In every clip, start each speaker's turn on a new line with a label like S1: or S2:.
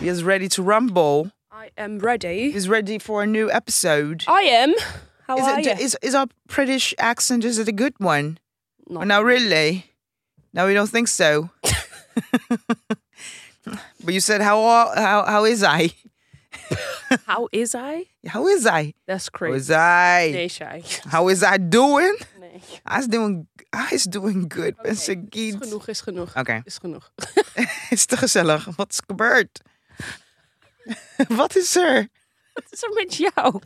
S1: He is ready to rumble.
S2: I am ready.
S1: He's ready for a new episode.
S2: I am. Oh, How
S1: Is
S2: are
S1: it
S2: you?
S1: is is our British accent is it a good one?
S2: Not-
S1: No, really. No, we don't think so. but you said how are how how is I?
S2: How is I?
S1: How is I?
S2: That's
S1: How
S2: crazy.
S1: Oh, is I?
S2: Nee, Shai.
S1: How is I doing?
S2: Nee.
S1: I's doing I's doing good. Mensen
S2: Is
S1: giet. Oké,
S2: genoeg, is genoeg. Is genoeg.
S1: is te gezellig. Wat is er gebeurd? Wat is er?
S2: Wat is er met jou?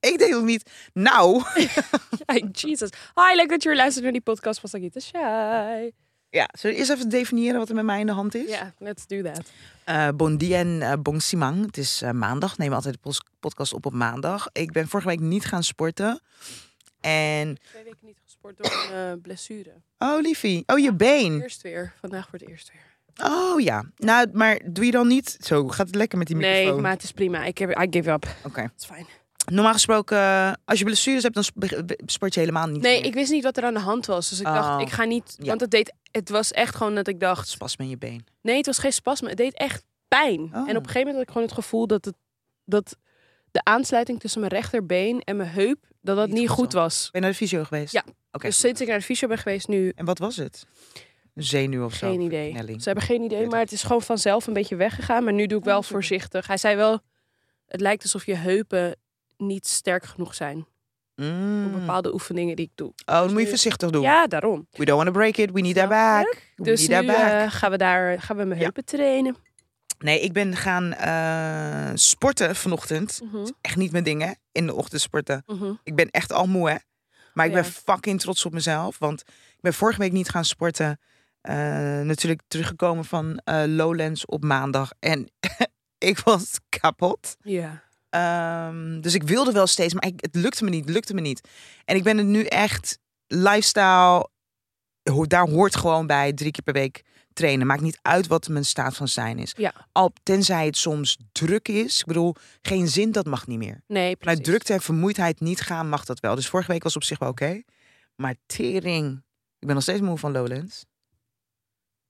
S1: Ik deed het niet. Nou,
S2: Hey, Jesus. Hi, leuk dat je weer luistert naar die podcast van Sagita Shai.
S1: ja, zullen we eerst even definiëren wat er met mij in de hand is?
S2: Ja, let's do that.
S1: Eh, bon dia en eh, bon simang. Het is eh, maandag. We nemen altijd de pos- podcast op op maandag. Ik ben vorige week niet gaan sporten. En...
S2: Twee weken niet gesport door een eh, blessure.
S1: Oh, liefie. Oh, je been.
S2: Eerst weer. Vandaag voor het eerst weer.
S1: Oh, ja. Nou, maar doe je dan niet... Zo, gaat het lekker met die microfoon?
S2: Nee, maar het is prima. Ik heb, I give up.
S1: Oké.
S2: Het is fijn.
S1: Normaal gesproken, eh, als je blessures hebt, dan sp- be- be- sport je helemaal niet
S2: Nee,
S1: meer.
S2: ik wist niet wat er aan de hand was. Dus ik
S1: Oh.
S2: dacht, ik ga niet...
S1: Ja.
S2: Want het deed... Het was echt gewoon dat ik dacht...
S1: Spas met je been.
S2: Nee, het was geen spasme. Het deed echt pijn. En
S1: Oh.
S2: op een gegeven moment had ik gewoon het gevoel dat, het, dat de aansluiting tussen mijn rechterbeen en mijn heup, dat dat
S1: Niet
S2: niet,
S1: goed
S2: goed was.
S1: Ben je naar de fysio geweest?
S2: Ja.
S1: Oké.
S2: Dus sinds ik naar de fysio ben geweest nu,
S1: En wat was het? Een zenuw of zo?
S2: geen idee.
S1: verknelling.
S2: Ze hebben geen idee,
S1: Weet
S2: maar het is gewoon vanzelf een beetje weggegaan. Maar nu doe ik wel
S1: Oh, super.
S2: voorzichtig. Hij zei wel, het lijkt alsof je heupen niet sterk genoeg zijn
S1: Mm.
S2: voor bepaalde oefeningen die ik doe.
S1: Oh, dan moet je
S2: nu-
S1: voorzichtig doen.
S2: Ja, daarom.
S1: We don't want to break it. We need our
S2: Snap je?
S1: back. We
S2: Dus
S1: need
S2: nu
S1: our back.
S2: eh, gaan we daar gaan we mijn
S1: Ja.
S2: heupen trainen.
S1: Nee, ik ben gaan eh, sporten vanochtend.
S2: Mhm,
S1: Echt niet mijn dingen. In de ochtend sporten.
S2: mhm.
S1: Ik ben echt al moe, hè. Maar ik
S2: Ja.
S1: ben fucking trots op mezelf. Want ik ben vorige week niet gaan sporten. Eh, natuurlijk teruggekomen van eh, Lowlands op maandag. En ik was kapot.
S2: Ja.
S1: Ehm, dus ik wilde wel steeds, maar ik- het lukte me niet, het lukte me niet. En ik ben het nu echt lifestyle. ho- Daar hoort gewoon bij drie keer per week trainen. Maakt niet uit wat mijn staat van zijn is.
S2: Ja.
S1: Al, tenzij het soms druk is. Ik bedoel, geen zin, dat mag niet meer.
S2: Nee, precies.
S1: Vanuit drukte en vermoeidheid niet gaan, mag dat wel. Dus vorige week was op zich wel oké. Maar tering. Ik ben nog steeds moe van Lowlands.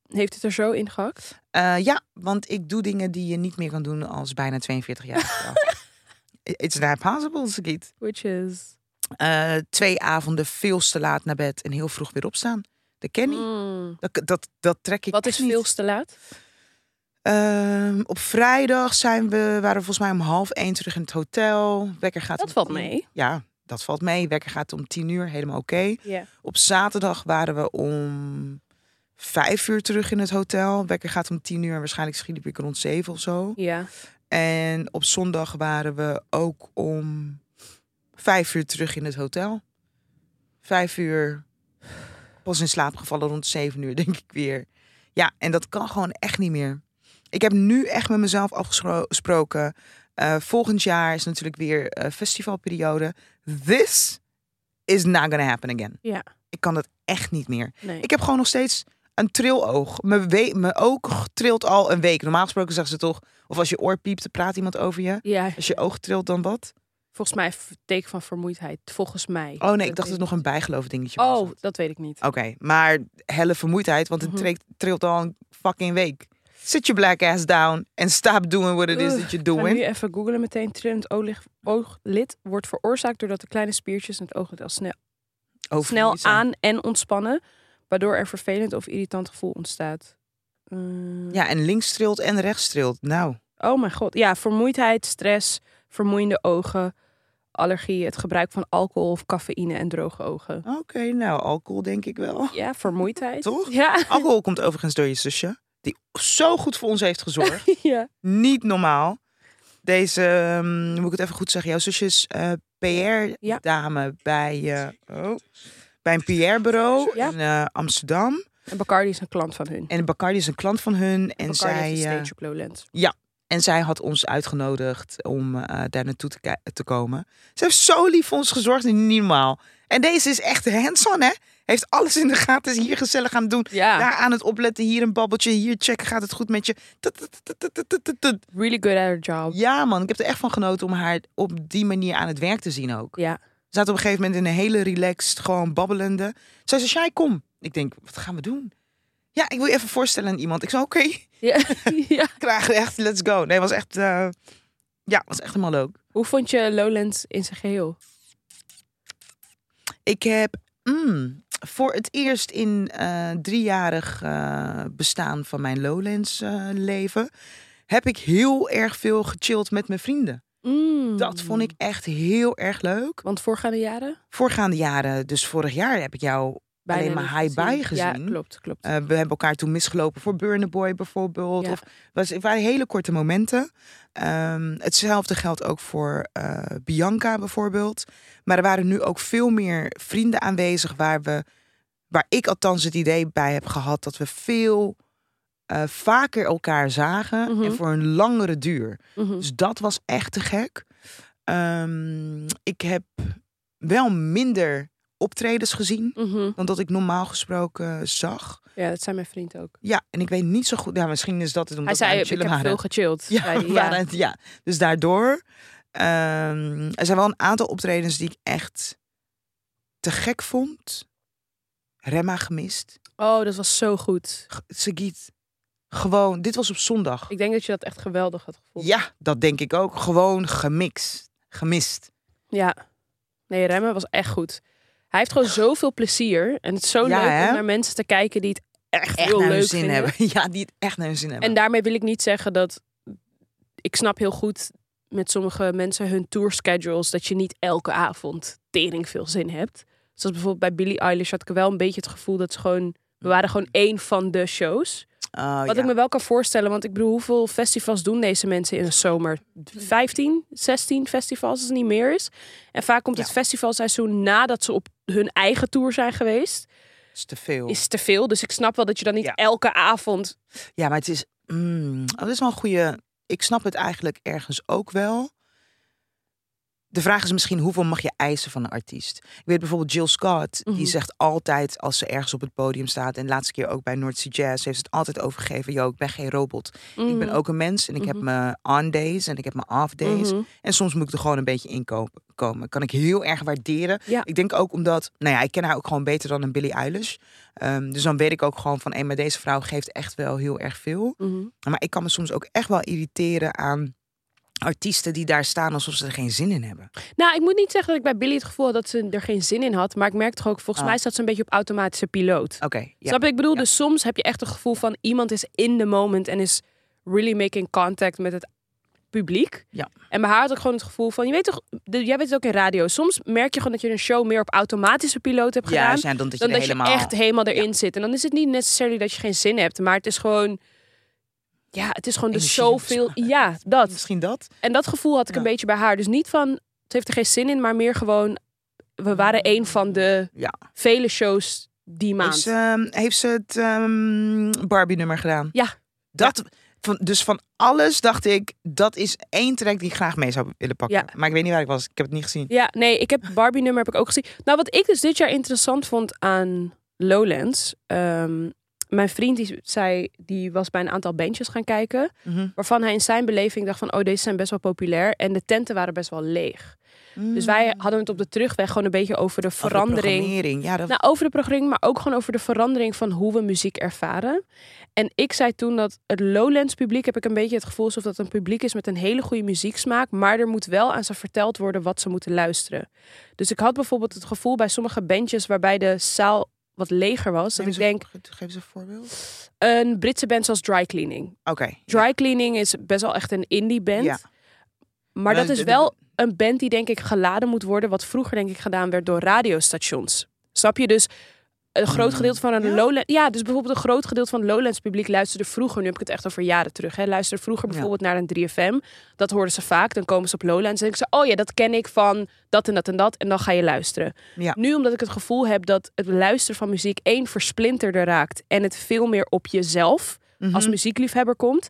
S2: Heeft het er zo in gehakt?
S1: Eh, ja, want ik doe dingen die je niet meer kan doen als bijna 42 jaar. It's not possible, Sagit.
S2: Which is.
S1: eh, twee avonden veel te laat naar bed en heel vroeg weer opstaan. Dat ken ik.
S2: Mm.
S1: Dat, dat, dat trek ik.
S2: Wat is
S1: echt niet.
S2: veel te laat?
S1: Ehm, op vrijdag zijn we, waren we volgens mij om half één terug in het hotel. Wekker gaat.
S2: Dat
S1: om
S2: valt
S1: tien-
S2: mee.
S1: Ja, dat valt mee. Wekker gaat om tien uur, helemaal oké.
S2: Ja.
S1: Op zaterdag waren we om vijf uur terug in het hotel. Wekker gaat om tien uur en waarschijnlijk schiet ik rond zeven of zo.
S2: Ja.
S1: En op zondag waren we ook om vijf uur terug in het hotel. Vijf uur pas in slaap gevallen rond zeven uur, denk ik weer. Ja, en dat kan gewoon echt niet meer. Ik heb nu echt met mezelf afgesproken. eh, volgend jaar is natuurlijk weer eh, festivalperiode. This is not gonna happen again.
S2: Ja.
S1: Ik kan dat echt niet meer.
S2: Nee.
S1: Ik heb gewoon nog steeds een triloog. Mijn, we- mijn oog trilt al een week. Normaal gesproken zeggen ze toch... Of als je oor piept, dan praat iemand over je.
S2: ja.
S1: Als je oog trilt, dan wat?
S2: Volgens mij een teken van vermoeidheid. Volgens mij.
S1: Oh nee, ik
S2: Dat
S1: dacht dat het
S2: weet
S1: nog een bijgeloof dingetje was.
S2: Oh, dat weet ik niet.
S1: Oké, maar helle vermoeidheid, want het
S2: Mhm.
S1: trilt- trilt al een fucking week. Sit your black ass down and stop doing what it is
S2: Ugh,
S1: that you're
S2: Ik ga nu
S1: doing.
S2: even googlen. Meteen trillend ooglid, ooglid wordt veroorzaakt doordat de kleine spiertjes in het ooglid al snel, snel
S1: Overmoeid zijn.
S2: aan en ontspannen. Waardoor er vervelend of irritant gevoel ontstaat. Mm.
S1: Ja, en links trilt en rechts trilt. Nou,
S2: Oh mijn god. Ja, vermoeidheid, stress, vermoeiende ogen, allergie, het gebruik van alcohol of cafeïne en droge ogen.
S1: oké, nou, alcohol denk ik wel.
S2: Ja, vermoeidheid.
S1: Toch?
S2: Ja.
S1: Alcohol komt overigens door je zusje, die zo goed voor ons heeft gezorgd.
S2: ja.
S1: Niet normaal. Deze, ehm, moet ik het even goed zeggen, jouw zusje is eh, PR-dame bij, eh, oh, bij een PR-bureau
S2: Ja.
S1: in eh, Amsterdam.
S2: En Bacardi is een klant van hun.
S1: En Bacardi is een klant van hun. En
S2: Bacardi
S1: zij,
S2: heeft een
S1: eh,
S2: stage op Lowlands.
S1: en zij had ons uitgenodigd om eh, daar naartoe te, ki- te komen. Ze heeft zo lief voor ons gezorgd, niet normaal. En deze is echt hands-on, hè? Heeft alles in de gaten, is hier gezellig aan het doen.
S2: Ja,
S1: Daar aan het opletten, hier een babbeltje, hier checken, gaat het goed met je. Tut, tut, tut, tut, tut, tut, tut.
S2: really good at her job.
S1: Ja, man, ik heb er echt van genoten om haar op die manier aan het werk te zien ook.
S2: Ja.
S1: Ze zat op een gegeven moment in een hele relaxed, gewoon babbelende. Zij zei, Shai, kom. Ik denk, wat gaan we doen? Ja, ik wil je even voorstellen aan iemand. Ik zei, oké,
S2: Ja. ja.
S1: graag echt, let's go. Nee, was echt, eh, ja, was echt helemaal leuk.
S2: Hoe vond je Lowlands in zijn geheel?
S1: Ik heb mm, voor het eerst in eh, driejarig eh, bestaan van mijn Lowlands eh, leven... heb ik heel erg veel gechilled met mijn vrienden.
S2: Mm.
S1: Dat vond ik echt heel erg leuk.
S2: Want voorgaande jaren?
S1: Voorgaande jaren, dus vorig jaar heb ik jou... Alleen maar
S2: niet
S1: high bye gezien.
S2: Ja, klopt, klopt.
S1: eh, we hebben elkaar toen misgelopen voor Burn the Boy bijvoorbeeld.
S2: Ja.
S1: Of was, het waren hele korte momenten. Ehm, hetzelfde geldt ook voor eh, Bianca bijvoorbeeld. Maar er waren nu ook veel meer vrienden aanwezig waar we, waar ik althans het idee bij heb gehad dat we veel eh, vaker elkaar zagen
S2: Mhm.
S1: en voor een langere duur.
S2: Mhm.
S1: Dus dat was echt te gek. Ehm, ik heb wel minder optredens gezien
S2: Mhm.
S1: dan dat ik normaal gesproken eh, zag.
S2: Ja, dat zijn mijn vriend ook.
S1: Ja, en ik weet niet zo goed. Ja, misschien is dat het
S2: Hij
S1: omdat we
S2: zei,
S1: aan
S2: ik
S1: het
S2: heb
S1: chillen waren.
S2: veel gechilled. zei
S1: Ja,
S2: hij.
S1: we
S2: Ja.
S1: waren aan het- ja, dus daardoor. ehm, er zijn wel een aantal optredens die ik echt te gek vond. Remma gemist.
S2: Oh, dat was zo goed.
S1: G- Sagiet. Gewoon, dit was op zondag.
S2: Ik denk dat je dat echt geweldig had gevoeld.
S1: Ja, dat denk ik ook. Gewoon gemixt. Gemist.
S2: Ja. Nee, Remmen was echt goed. Hij heeft gewoon zoveel plezier. En het is zo
S1: Ja,
S2: leuk
S1: hè?
S2: om naar mensen te kijken die het echt,
S1: Echt
S2: heel
S1: naar
S2: leuk
S1: hun zin
S2: vinden.
S1: hebben. Ja, die het echt naar hun zin hebben.
S2: En daarmee wil ik niet zeggen dat... Ik snap heel goed met sommige mensen hun tourschedules... dat je niet elke avond tering veel zin hebt. Zoals bijvoorbeeld bij Billie Eilish had ik wel een beetje het gevoel dat ze gewoon... We waren gewoon één van de shows.
S1: Oh,
S2: Wat
S1: ja.
S2: ik me wel kan voorstellen, want ik bedoel, hoeveel festivals doen deze mensen in de zomer? 15, 16 festivals, als het niet meer is. En vaak komt het
S1: Ja.
S2: festivalseizoen nadat ze op hun eigen tour zijn geweest.
S1: is te veel.
S2: Is te veel, dus ik snap wel dat je dan niet
S1: Ja.
S2: elke avond...
S1: Ja, maar het is. mm, oh, dat is wel een goede. Ik snap het eigenlijk ergens ook wel. De vraag is misschien hoeveel mag je eisen van een artiest? Ik weet bijvoorbeeld Jill Scott,
S2: Mhm.
S1: die zegt altijd als ze ergens op het podium staat. En de laatste keer ook bij North Sea Jazz heeft ze het altijd overgegeven. Yo, ik ben geen robot. Ik ben ook een mens en ik heb
S2: Mhm.
S1: mijn on days en ik heb mijn off days.
S2: Mhm.
S1: En soms moet ik er gewoon een beetje in ko- komen. Kan ik heel erg waarderen.
S2: Ja.
S1: Ik denk ook omdat, nou ja, ik ken haar ook gewoon beter dan een Billie Eilish. Ehm, dus dan weet ik ook gewoon van, hé, maar deze vrouw geeft echt wel heel erg veel.
S2: Mhm.
S1: Maar ik kan me soms ook echt wel irriteren aan artiesten die daar staan alsof ze er geen zin in hebben.
S2: Nou, ik moet niet zeggen dat ik bij Billy het gevoel had dat ze er geen zin in had. Maar ik merk toch ook, volgens
S1: Ah.
S2: mij zat ze een beetje op automatische piloot.
S1: Oké, ja.
S2: Snap je? Ik bedoel,
S1: Ja.
S2: dus soms heb je echt het gevoel van iemand is in the moment en is really making contact met het publiek.
S1: Ja.
S2: En bij haar had ik gewoon het gevoel van, je weet toch, de- jij weet het ook in radio, soms merk je gewoon dat je een show meer op automatische piloot hebt
S1: ja,
S2: gedaan,
S1: zijn dan dat je
S2: dan
S1: er
S2: dat
S1: helemaal...
S2: je echt helemaal erin zit. En dan is het niet necessarily dat je geen zin hebt, maar het is gewoon, ja, het is gewoon dus
S1: Energie of zo.
S2: zoveel, ja, dat.
S1: Misschien dat?
S2: En dat gevoel had ik
S1: Ja.
S2: een beetje bij haar. Dus niet van, het heeft er geen zin in, maar meer gewoon, we waren een van de
S1: Ja.
S2: vele shows die maand.
S1: Heeft ze, ehm, heeft ze het ehm, Barbie-nummer gedaan?
S2: Ja.
S1: Dat, Van, dus van alles dacht ik, dat is één track die ik graag mee zou willen pakken.
S2: Ja.
S1: Maar ik weet niet waar ik was, ik heb het niet gezien.
S2: Ja, nee, ik heb Barbie nummer heb ik ook gezien. Nou, wat ik dus dit jaar interessant vond aan Lowlands. ehm, mijn vriend die zei, die was bij een aantal bandjes gaan kijken.
S1: Mhm.
S2: Waarvan hij in zijn beleving dacht van, oh, deze zijn best wel populair. En de tenten waren best wel leeg. Dus wij hadden het op de terugweg gewoon een beetje over de
S1: Hmm. Over de
S2: verandering.
S1: programmering, Ja, dat,
S2: Nou, over de programmering, maar ook gewoon over de verandering van hoe we muziek ervaren. En ik zei toen dat het Lowlands publiek, heb ik een beetje het gevoel alsof dat een publiek is met een hele goede muzieksmaak. Maar er moet wel aan ze verteld worden wat ze moeten luisteren. Dus ik had bijvoorbeeld het gevoel bij sommige bandjes waarbij de zaal wat leger was. Dat
S1: Neem
S2: ik
S1: eens
S2: denk,
S1: een- Geef eens een voorbeeld.
S2: een Britse band zoals Dry Cleaning.
S1: Oké.
S2: Dry Cleaning is best wel echt een indie band.
S1: Ja.
S2: Maar dat
S1: Maar
S2: is
S1: de-
S2: wel een band die denk ik geladen moet worden, wat vroeger denk ik gedaan werd door radiostations. Snap je? Dus een groot gedeelte van een
S1: Mm. Ja?
S2: Lowlands... Ja, dus bijvoorbeeld een groot gedeelte van het Lowlands publiek luisterde vroeger, nu heb ik het echt over jaren terug, hè, luisterde vroeger
S1: Ja.
S2: bijvoorbeeld naar een 3FM. Dat hoorden ze vaak. Dan komen ze op Lowlands en denken ze, oh ja, dat ken ik van dat en dat en dat. En dan ga je luisteren.
S1: Ja.
S2: Nu omdat ik het gevoel heb dat het luisteren van muziek één versplinterder raakt en het veel meer op jezelf
S1: Mhm.
S2: als muziekliefhebber komt,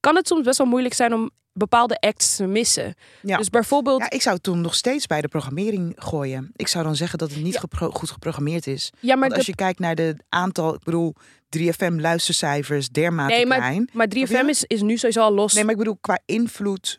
S2: kan het soms best wel moeilijk zijn om bepaalde acts te missen.
S1: Ja.
S2: Dus bijvoorbeeld, ja,
S1: Ja, ik zou het toen nog steeds bij de programmering gooien. Ik zou dan zeggen dat het niet
S2: Ja.
S1: gepro- goed geprogrammeerd is.
S2: maar,
S1: Want als
S2: de,
S1: je kijkt naar de aantal, ik bedoel, 3FM luistercijfers dermate
S2: Nee,
S1: klein.
S2: maar
S1: Snap
S2: 3FM
S1: je?
S2: is, is nu sowieso al los.
S1: Nee, maar ik bedoel, qua invloed.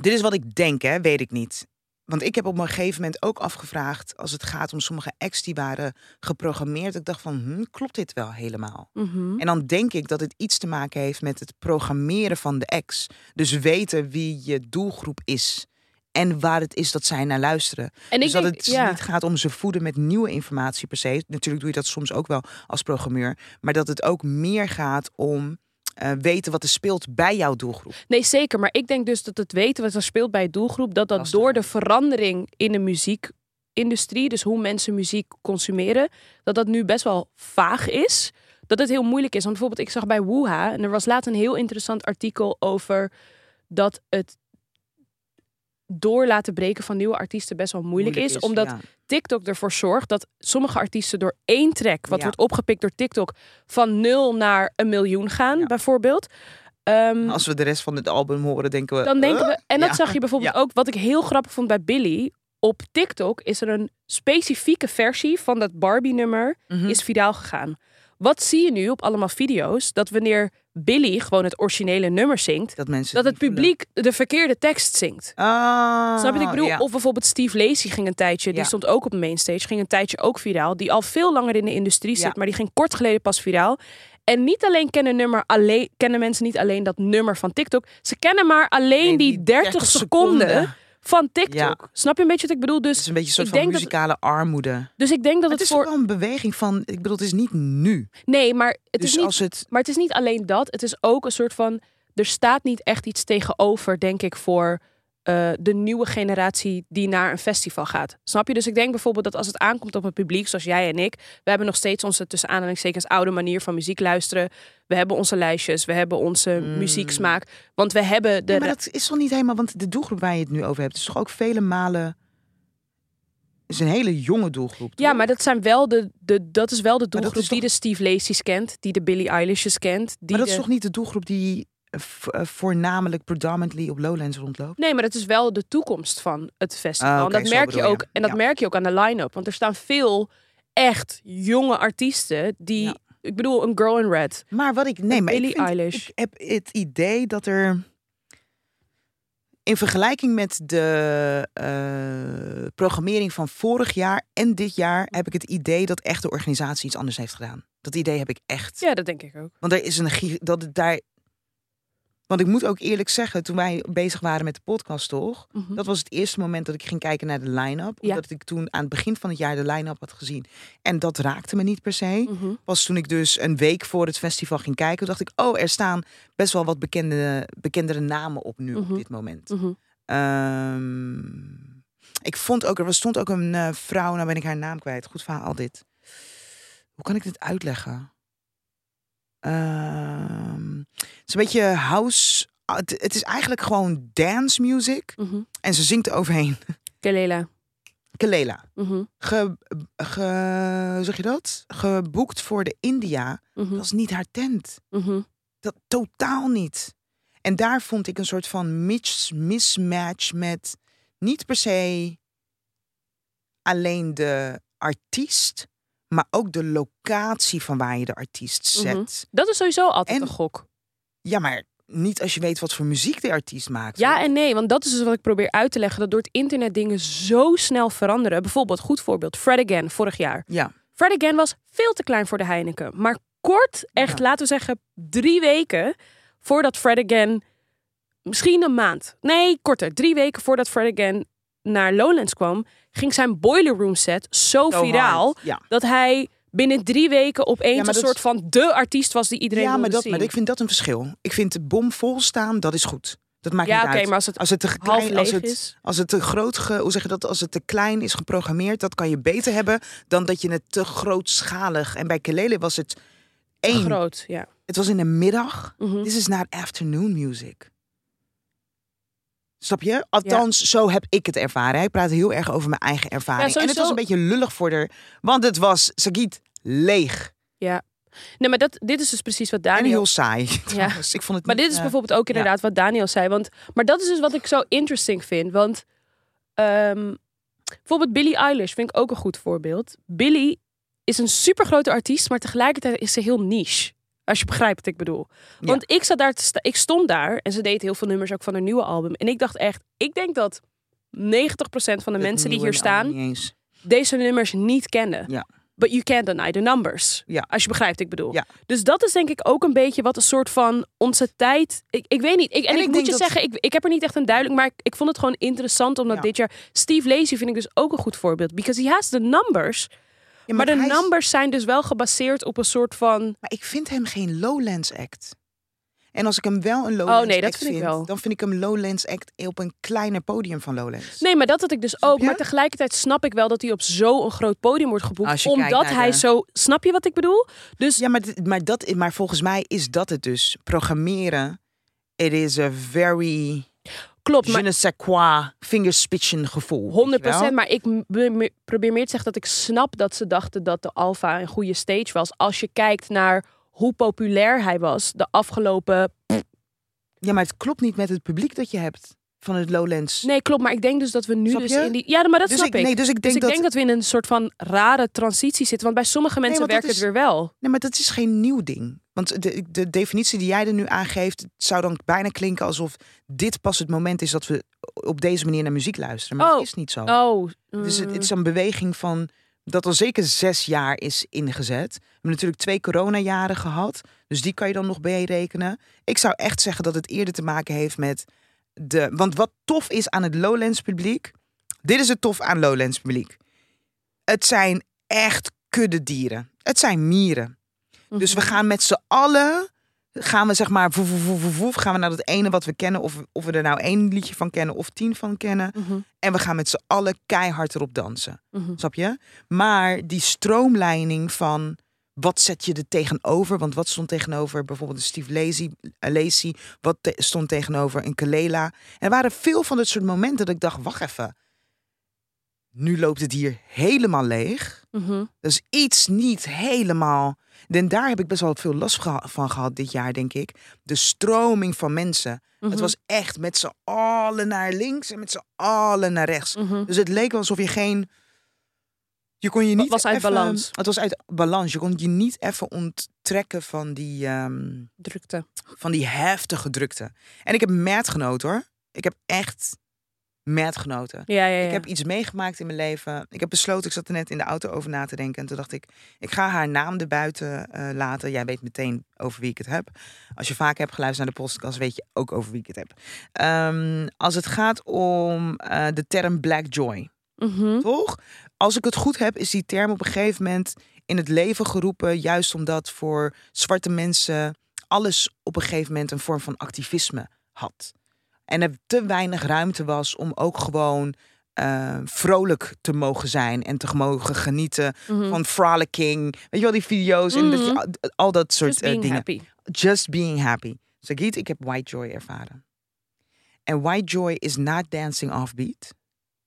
S1: Dit is wat ik denk, hè, weet ik niet. Want ik heb op een gegeven moment ook afgevraagd als het gaat om sommige acts die waren geprogrammeerd. Ik dacht van, hm, klopt dit wel helemaal?
S2: Mhm.
S1: En dan denk ik dat het iets te maken heeft met het programmeren van de ex. Dus weten wie je doelgroep is en waar het is dat zij naar luisteren.
S2: En ik
S1: dus dat
S2: denk,
S1: het
S2: ja.
S1: niet gaat om ze voeden met nieuwe informatie per se. Natuurlijk doe je dat soms ook wel als programmeur. Maar dat het ook meer gaat om eh, weten wat er speelt bij jouw doelgroep.
S2: Nee, zeker. Maar ik denk dus dat het weten wat er speelt bij het doelgroep, dat dat
S1: Lastig
S2: door de
S1: is.
S2: verandering in de muziekindustrie, dus hoe mensen muziek consumeren, dat dat nu best wel vaag is. Dat het heel moeilijk is. Want bijvoorbeeld, ik zag bij Woeha, en er was laatst een heel interessant artikel over dat het door laten breken van nieuwe artiesten best wel moeilijk, is, Omdat
S1: ja.
S2: TikTok ervoor zorgt dat sommige artiesten door één track, wat
S1: Ja.
S2: wordt opgepikt door TikTok, van nul naar een miljoen gaan,
S1: Ja.
S2: bijvoorbeeld. Ehm,
S1: Als we de rest van het album horen, denken we...
S2: dan denken we, en dat
S1: Ja.
S2: zag je bijvoorbeeld ook, wat ik heel grappig vond bij Billy. Op TikTok is er een specifieke versie van dat Barbie-nummer
S1: eh, mhm.
S2: is viraal gegaan. Wat zie je nu op allemaal video's? Dat wanneer Billy gewoon het originele nummer zingt,
S1: dat mensen
S2: dat het
S1: niet voelen.
S2: publiek de verkeerde tekst zingt.
S1: Ah,
S2: Snap je wat ik bedoel?
S1: ja.
S2: Of bijvoorbeeld Steve Lacey ging een tijdje, die
S1: Ja.
S2: stond ook op de mainstage, ging een tijdje ook viraal. Die al veel langer in de industrie
S1: Ja.
S2: zit, maar die ging kort geleden pas viraal. En niet alleen kennen, nummer alleen, kennen mensen niet alleen dat nummer van TikTok. Ze kennen maar alleen
S1: Nee,
S2: die 30, seconden, van TikTok.
S1: Ja.
S2: Snap je een beetje wat ik bedoel?
S1: Het is
S2: Dus,
S1: een beetje een soort
S2: Ik
S1: van
S2: denk dat-
S1: muzikale armoede. Maar
S2: dus ik denk dat
S1: het
S2: het,
S1: is
S2: voor...
S1: ook wel een beweging van... Ik bedoel, het is niet nu.
S2: Nee, maar het,
S1: dus
S2: is niet,
S1: als het...
S2: maar het is niet alleen dat. Het is ook een soort van... Er staat niet echt iets tegenover, denk ik, voor... eh, de nieuwe generatie die naar een festival gaat. Snap je? Dus ik denk bijvoorbeeld dat als het aankomt op het publiek, zoals jij en ik, we hebben nog steeds onze tussen aanhalingstekens oude manier van muziek luisteren. We hebben onze lijstjes, we hebben onze
S1: Mm.
S2: muzieksmaak, want we hebben de.
S1: Nee, maar dat is toch niet helemaal... Want de doelgroep waar je het nu over hebt... is toch ook vele malen... is een hele jonge doelgroep.
S2: Ja,
S1: toch?
S2: maar dat zijn wel de, de dat is wel de
S1: dat
S2: doelgroep
S1: is
S2: die de Steve Lacey's kent, die de Billie Eilish's kent, die
S1: Maar dat
S2: de-
S1: is toch niet de doelgroep die eh, v- eh, voornamelijk predominantly op Lowlands rondloopt?
S2: Nee, maar dat is wel de toekomst van het festival.
S1: Ah, oké,
S2: En dat
S1: zo
S2: merk je
S1: bedoel je.
S2: ook. En dat
S1: Ja.
S2: merk je ook aan de line-up. Want er staan veel echt jonge artiesten die.
S1: Ja.
S2: Ik bedoel, een Girl in Red.
S1: Maar wat ik... Nee, maar ik
S2: Billie
S1: vind-
S2: Eilish.
S1: Ik heb het idee dat er in vergelijking met de eh, programmering van vorig jaar en dit jaar heb ik het idee dat echt de organisatie iets anders heeft gedaan. Dat idee heb ik echt.
S2: Ja, dat denk ik ook.
S1: Want er is een gi- dat het daar. Want ik moet ook eerlijk zeggen, toen wij bezig waren met de podcast toch,
S2: Mhm.
S1: dat was het eerste moment dat ik ging kijken naar de line-up.
S2: Ja.
S1: Omdat ik toen aan het begin van het jaar de line-up had gezien. En dat raakte me niet per se
S2: Mhm.
S1: was toen ik dus een week voor het festival ging kijken, toen dacht ik, oh, er staan best wel wat bekende, bekendere namen op nu
S2: Mhm.
S1: op dit moment.
S2: Mhm.
S1: Ehm, ik vond ook, er was- stond ook een eh, vrouw, nou ben ik haar naam kwijt. Goed verhaal dit. Hoe kan ik dit uitleggen? Ehm, het is een beetje house. ah, Het, het is eigenlijk gewoon dance music.
S2: mhm.
S1: En ze zingt overheen.
S2: Kelela.
S1: Kalela.
S2: Mhm,
S1: Ge, ge, hoe zeg je dat? Geboekt voor de India.
S2: mhm,
S1: Dat is niet haar tent.
S2: mhm.
S1: Dat totaal niet. En daar vond ik een soort van mis- mismatch met niet per se alleen de artiest, maar ook de locatie van waar je de artiest zet.
S2: Mhm. Dat is sowieso altijd
S1: En-
S2: een gok.
S1: Ja, maar niet als je weet wat voor muziek de artiest maakt.
S2: Ja
S1: hoor.
S2: en nee, want dat is dus wat ik probeer uit te leggen. Dat door het internet dingen zo snel veranderen. Bijvoorbeeld, goed voorbeeld, Fred Again vorig jaar.
S1: Ja.
S2: Fred Again was veel te klein voor de Heineken. Maar kort, echt
S1: Ja.
S2: laten we zeggen drie weken voordat Fred Again... Misschien een maand. Nee, korter. Drie weken voordat Fred Again naar Lowlands kwam... ging zijn Boiler Room set zo,
S1: Zo
S2: viraal...
S1: hard, Ja.
S2: dat hij binnen drie weken opeens
S1: Ja, maar
S2: een
S1: dat
S2: soort
S1: is-
S2: van de artiest was die iedereen
S1: ja, maar,
S2: wilde
S1: dat,
S2: zien.
S1: maar ik vind dat een verschil. Ik vind de bom vol staan, dat is goed. Dat maakt
S2: ja,
S1: niet
S2: oké,
S1: uit.
S2: maar als het
S1: Als het te
S2: half
S1: klein,
S2: leeg
S1: als het,
S2: is...
S1: Als het te groot, ge- hoe zeg je dat? Als het te klein is geprogrammeerd, dat kan je beter hebben dan dat je het te grootschalig. En bij Kelele was het één.
S2: Groot, ja.
S1: Het was in de middag.
S2: Mhm.
S1: This is not afternoon music. Snap je? Althans, zo heb ik het ervaren. Ik praat heel erg over mijn eigen ervaring. en het
S2: sowieso-
S1: was een beetje lullig voor haar, want het was, Sagiet, leeg.
S2: Nee, maar dat, dit is dus precies wat
S1: En
S2: Daniel
S1: heel saai. trouwens. Ik vond het
S2: Maar
S1: niet,
S2: dit is
S1: eh,
S2: bijvoorbeeld ook inderdaad wat Daniel zei. Want, maar dat is dus wat ik zo interesting vind. Want ehm, bijvoorbeeld Billie Eilish vind ik ook een goed voorbeeld. Billie is een supergrote artiest, maar tegelijkertijd is ze heel niche. Als je begrijpt wat ik bedoel.
S1: Ja.
S2: Want ik, zat daar te sta- ik stond daar en ze deed heel veel nummers ook van haar nieuwe album. En ik dacht echt, ik denk dat 90% van de mensen die hier staan deze nummers niet kennen.
S1: Ja.
S2: But you can't deny the numbers.
S1: Ja.
S2: Als je begrijpt, ik bedoel.
S1: Ja.
S2: Dus dat is denk ik ook een beetje wat een soort van onze tijd. Ik, ik weet niet. Ik, en,
S1: En
S2: ik,
S1: ik
S2: moet
S1: denk
S2: je
S1: dat-
S2: zeggen, ik, ik heb er niet echt een duidelijk. Maar ik, ik vond het gewoon interessant omdat
S1: Ja.
S2: dit jaar. Steve Lacy vind ik dus ook een goed voorbeeld. Because he has the numbers. maar de
S1: hij is-
S2: numbers zijn dus wel gebaseerd op een soort van.
S1: Maar ik vind hem geen Lowlands act. En als ik hem wel een Lowlands
S2: Oh, nee, dat
S1: act
S2: vind
S1: vind,
S2: ik wel.
S1: dan vind ik hem Lowlands act op een kleiner podium van Lowlands.
S2: Nee, maar dat had ik dus
S1: Snap
S2: ook.
S1: je?
S2: Maar tegelijkertijd snap ik wel dat hij op zo'n groot podium wordt
S1: Als
S2: geboekt.
S1: je kijkt
S2: Omdat
S1: naar
S2: hij
S1: de-
S2: zo. Snap je wat ik bedoel? Dus
S1: Ja, maar, dit- maar, dat, maar volgens mij is dat het dus. Programmeren, it is a very
S2: klopt.
S1: je
S2: Maar
S1: ne sais quoi, fingerspitchen gevoel.
S2: 100
S1: weet je wel?
S2: maar ik m- be- me- probeer meer te zeggen dat ik snap dat ze dachten dat de Alfa een goede stage was. Als je kijkt naar hoe populair hij was de afgelopen.
S1: Ja, maar het klopt niet met het publiek dat je hebt van het Lowlands.
S2: Nee, klopt, maar ik denk dus dat we nu
S1: Snap
S2: dus
S1: je?
S2: in die. Ja, maar dat
S1: dus
S2: snap ik.
S1: Nee, dus ik
S2: dus
S1: denk
S2: ik
S1: dat...
S2: denk dat we in een soort van rare transitie zitten. Want bij sommige mensen
S1: want dat
S2: werkt het
S1: is-
S2: weer wel.
S1: Nee, maar dat is geen nieuw ding. Want de, de definitie die jij er nu aangeeft, het zou dan bijna klinken alsof dit pas het moment is dat we op deze manier naar muziek luisteren. Maar
S2: Oh.
S1: dat is niet zo.
S2: Oh,
S1: Dus het,
S2: mm.
S1: het is een beweging van dat al zeker zes jaar is ingezet. We hebben natuurlijk twee coronajaren gehad. Dus die kan je dan nog berekenen. Ik zou echt zeggen dat het eerder te maken heeft met de. Want wat tof is aan het Lowlands publiek. Dit is het tof aan Lowlands publiek. Het zijn echt kudde dieren. Het zijn mieren. Dus we gaan met z'n allen. Gaan we zeg maar. Voef, voef, voef, voef, voef, gaan we naar dat ene wat we kennen. Of, of we er nou één liedje van kennen of tien van kennen.
S2: Mhm.
S1: En we gaan met z'n allen keihard erop dansen.
S2: Mhm.
S1: Snap je? Maar die stroomlijning van. Wat zet je er tegenover? Want wat stond tegenover bijvoorbeeld een Steve Lacy? eh, Lacy wat te- stond tegenover een Kalela? En er waren veel van dit soort momenten dat ik dacht: wacht even. Nu loopt het hier helemaal leeg.
S2: Mhm.
S1: Dus iets niet helemaal. En daar heb ik best wel veel last geha- van gehad dit jaar, denk ik. De stroming van mensen.
S2: Mhm.
S1: Het was echt met z'n allen naar links en met z'n allen naar rechts.
S2: Mhm.
S1: Dus het leek wel alsof je geen. Je kon je niet.
S2: was uit
S1: even-
S2: balans.
S1: Het was uit balans. Je kon je niet even onttrekken van die, ehm,
S2: drukte.
S1: van die heftige drukte. En ik heb mad genoten hoor. Ik heb echt mad genoten.
S2: Ja, ja, ja.
S1: Ik heb iets meegemaakt in mijn leven. Ik heb besloten, ik zat er net in de auto over na te denken. En toen dacht ik, ik ga haar naam erbuiten eh laten. Jij weet meteen over wie ik het heb. Als je vaak hebt geluisterd naar de podcast, weet je ook over wie ik het heb. Ehm, als het gaat om eh, de term black joy,
S2: Mhm.
S1: toch? Als ik het goed heb, is die term op een gegeven moment in het leven geroepen. Juist omdat voor zwarte mensen alles op een gegeven moment een vorm van activisme had. En er te weinig ruimte was om ook gewoon eh, vrolijk te mogen zijn en te mogen genieten
S2: Mhm.
S1: van frolicking. Weet je wel, die video's en dat je
S2: Mhm.
S1: al, al dat soort
S2: Just
S1: eh,
S2: being
S1: dingen.
S2: happy.
S1: Just being happy. Sagit, ik heb white joy ervaren. En white joy is not dancing offbeat.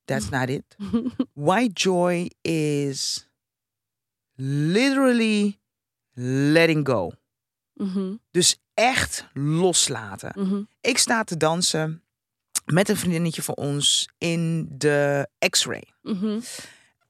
S1: That's not it. White joy is literally letting go.
S2: Mhm.
S1: Dus echt loslaten.
S2: Mhm.
S1: Ik sta te dansen met een vriendinnetje van ons in de X-ray.
S2: Mhm.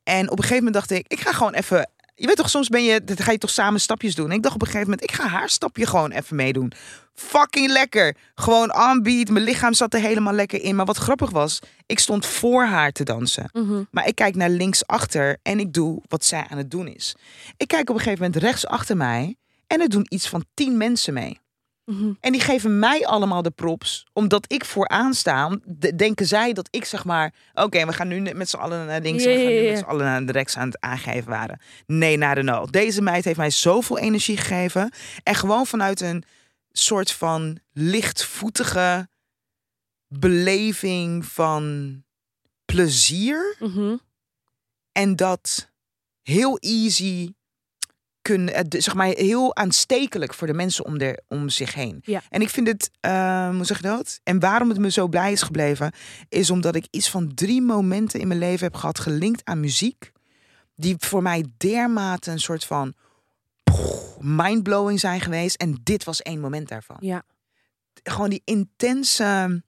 S1: En op een gegeven moment dacht ik, ik ga gewoon even. Je weet toch, soms ben je, dat ga je toch samen stapjes doen. En ik dacht op een gegeven moment, ik ga haar stapje gewoon even meedoen. Fucking lekker. Gewoon aanbied. Mijn lichaam zat er helemaal lekker in. Maar wat grappig was, ik stond voor haar te dansen.
S2: Mhm.
S1: Maar ik kijk naar linksachter en ik doe wat zij aan het doen is. Ik kijk op een gegeven moment rechts achter mij en er doen iets van tien mensen mee.
S2: Mhm.
S1: En die geven mij allemaal de props, omdat ik vooraan sta. om- de- Denken zij dat ik zeg maar, oké, we gaan nu met z'n allen naar links en we
S2: Ja,
S1: gaan
S2: ja,
S1: nu
S2: ja.
S1: met z'n allen naar de rechts aan het aangeven waren. Nee, naar de no. Deze meid heeft mij zoveel energie gegeven. En gewoon vanuit een soort van lichtvoetige beleving van plezier
S2: Mhm.
S1: en dat heel easy kunnen, eh, de- zeg maar heel aanstekelijk voor de mensen om, de, om zich heen.
S2: Ja.
S1: En ik vind het, eh, hoe zeg je dat? En waarom het me zo blij is gebleven, is omdat ik iets van drie momenten in mijn leven heb gehad gelinkt aan muziek, die voor mij dermate een soort van poeh, mindblowing zijn geweest. En dit was één moment daarvan
S2: Ja.
S1: gewoon die intense.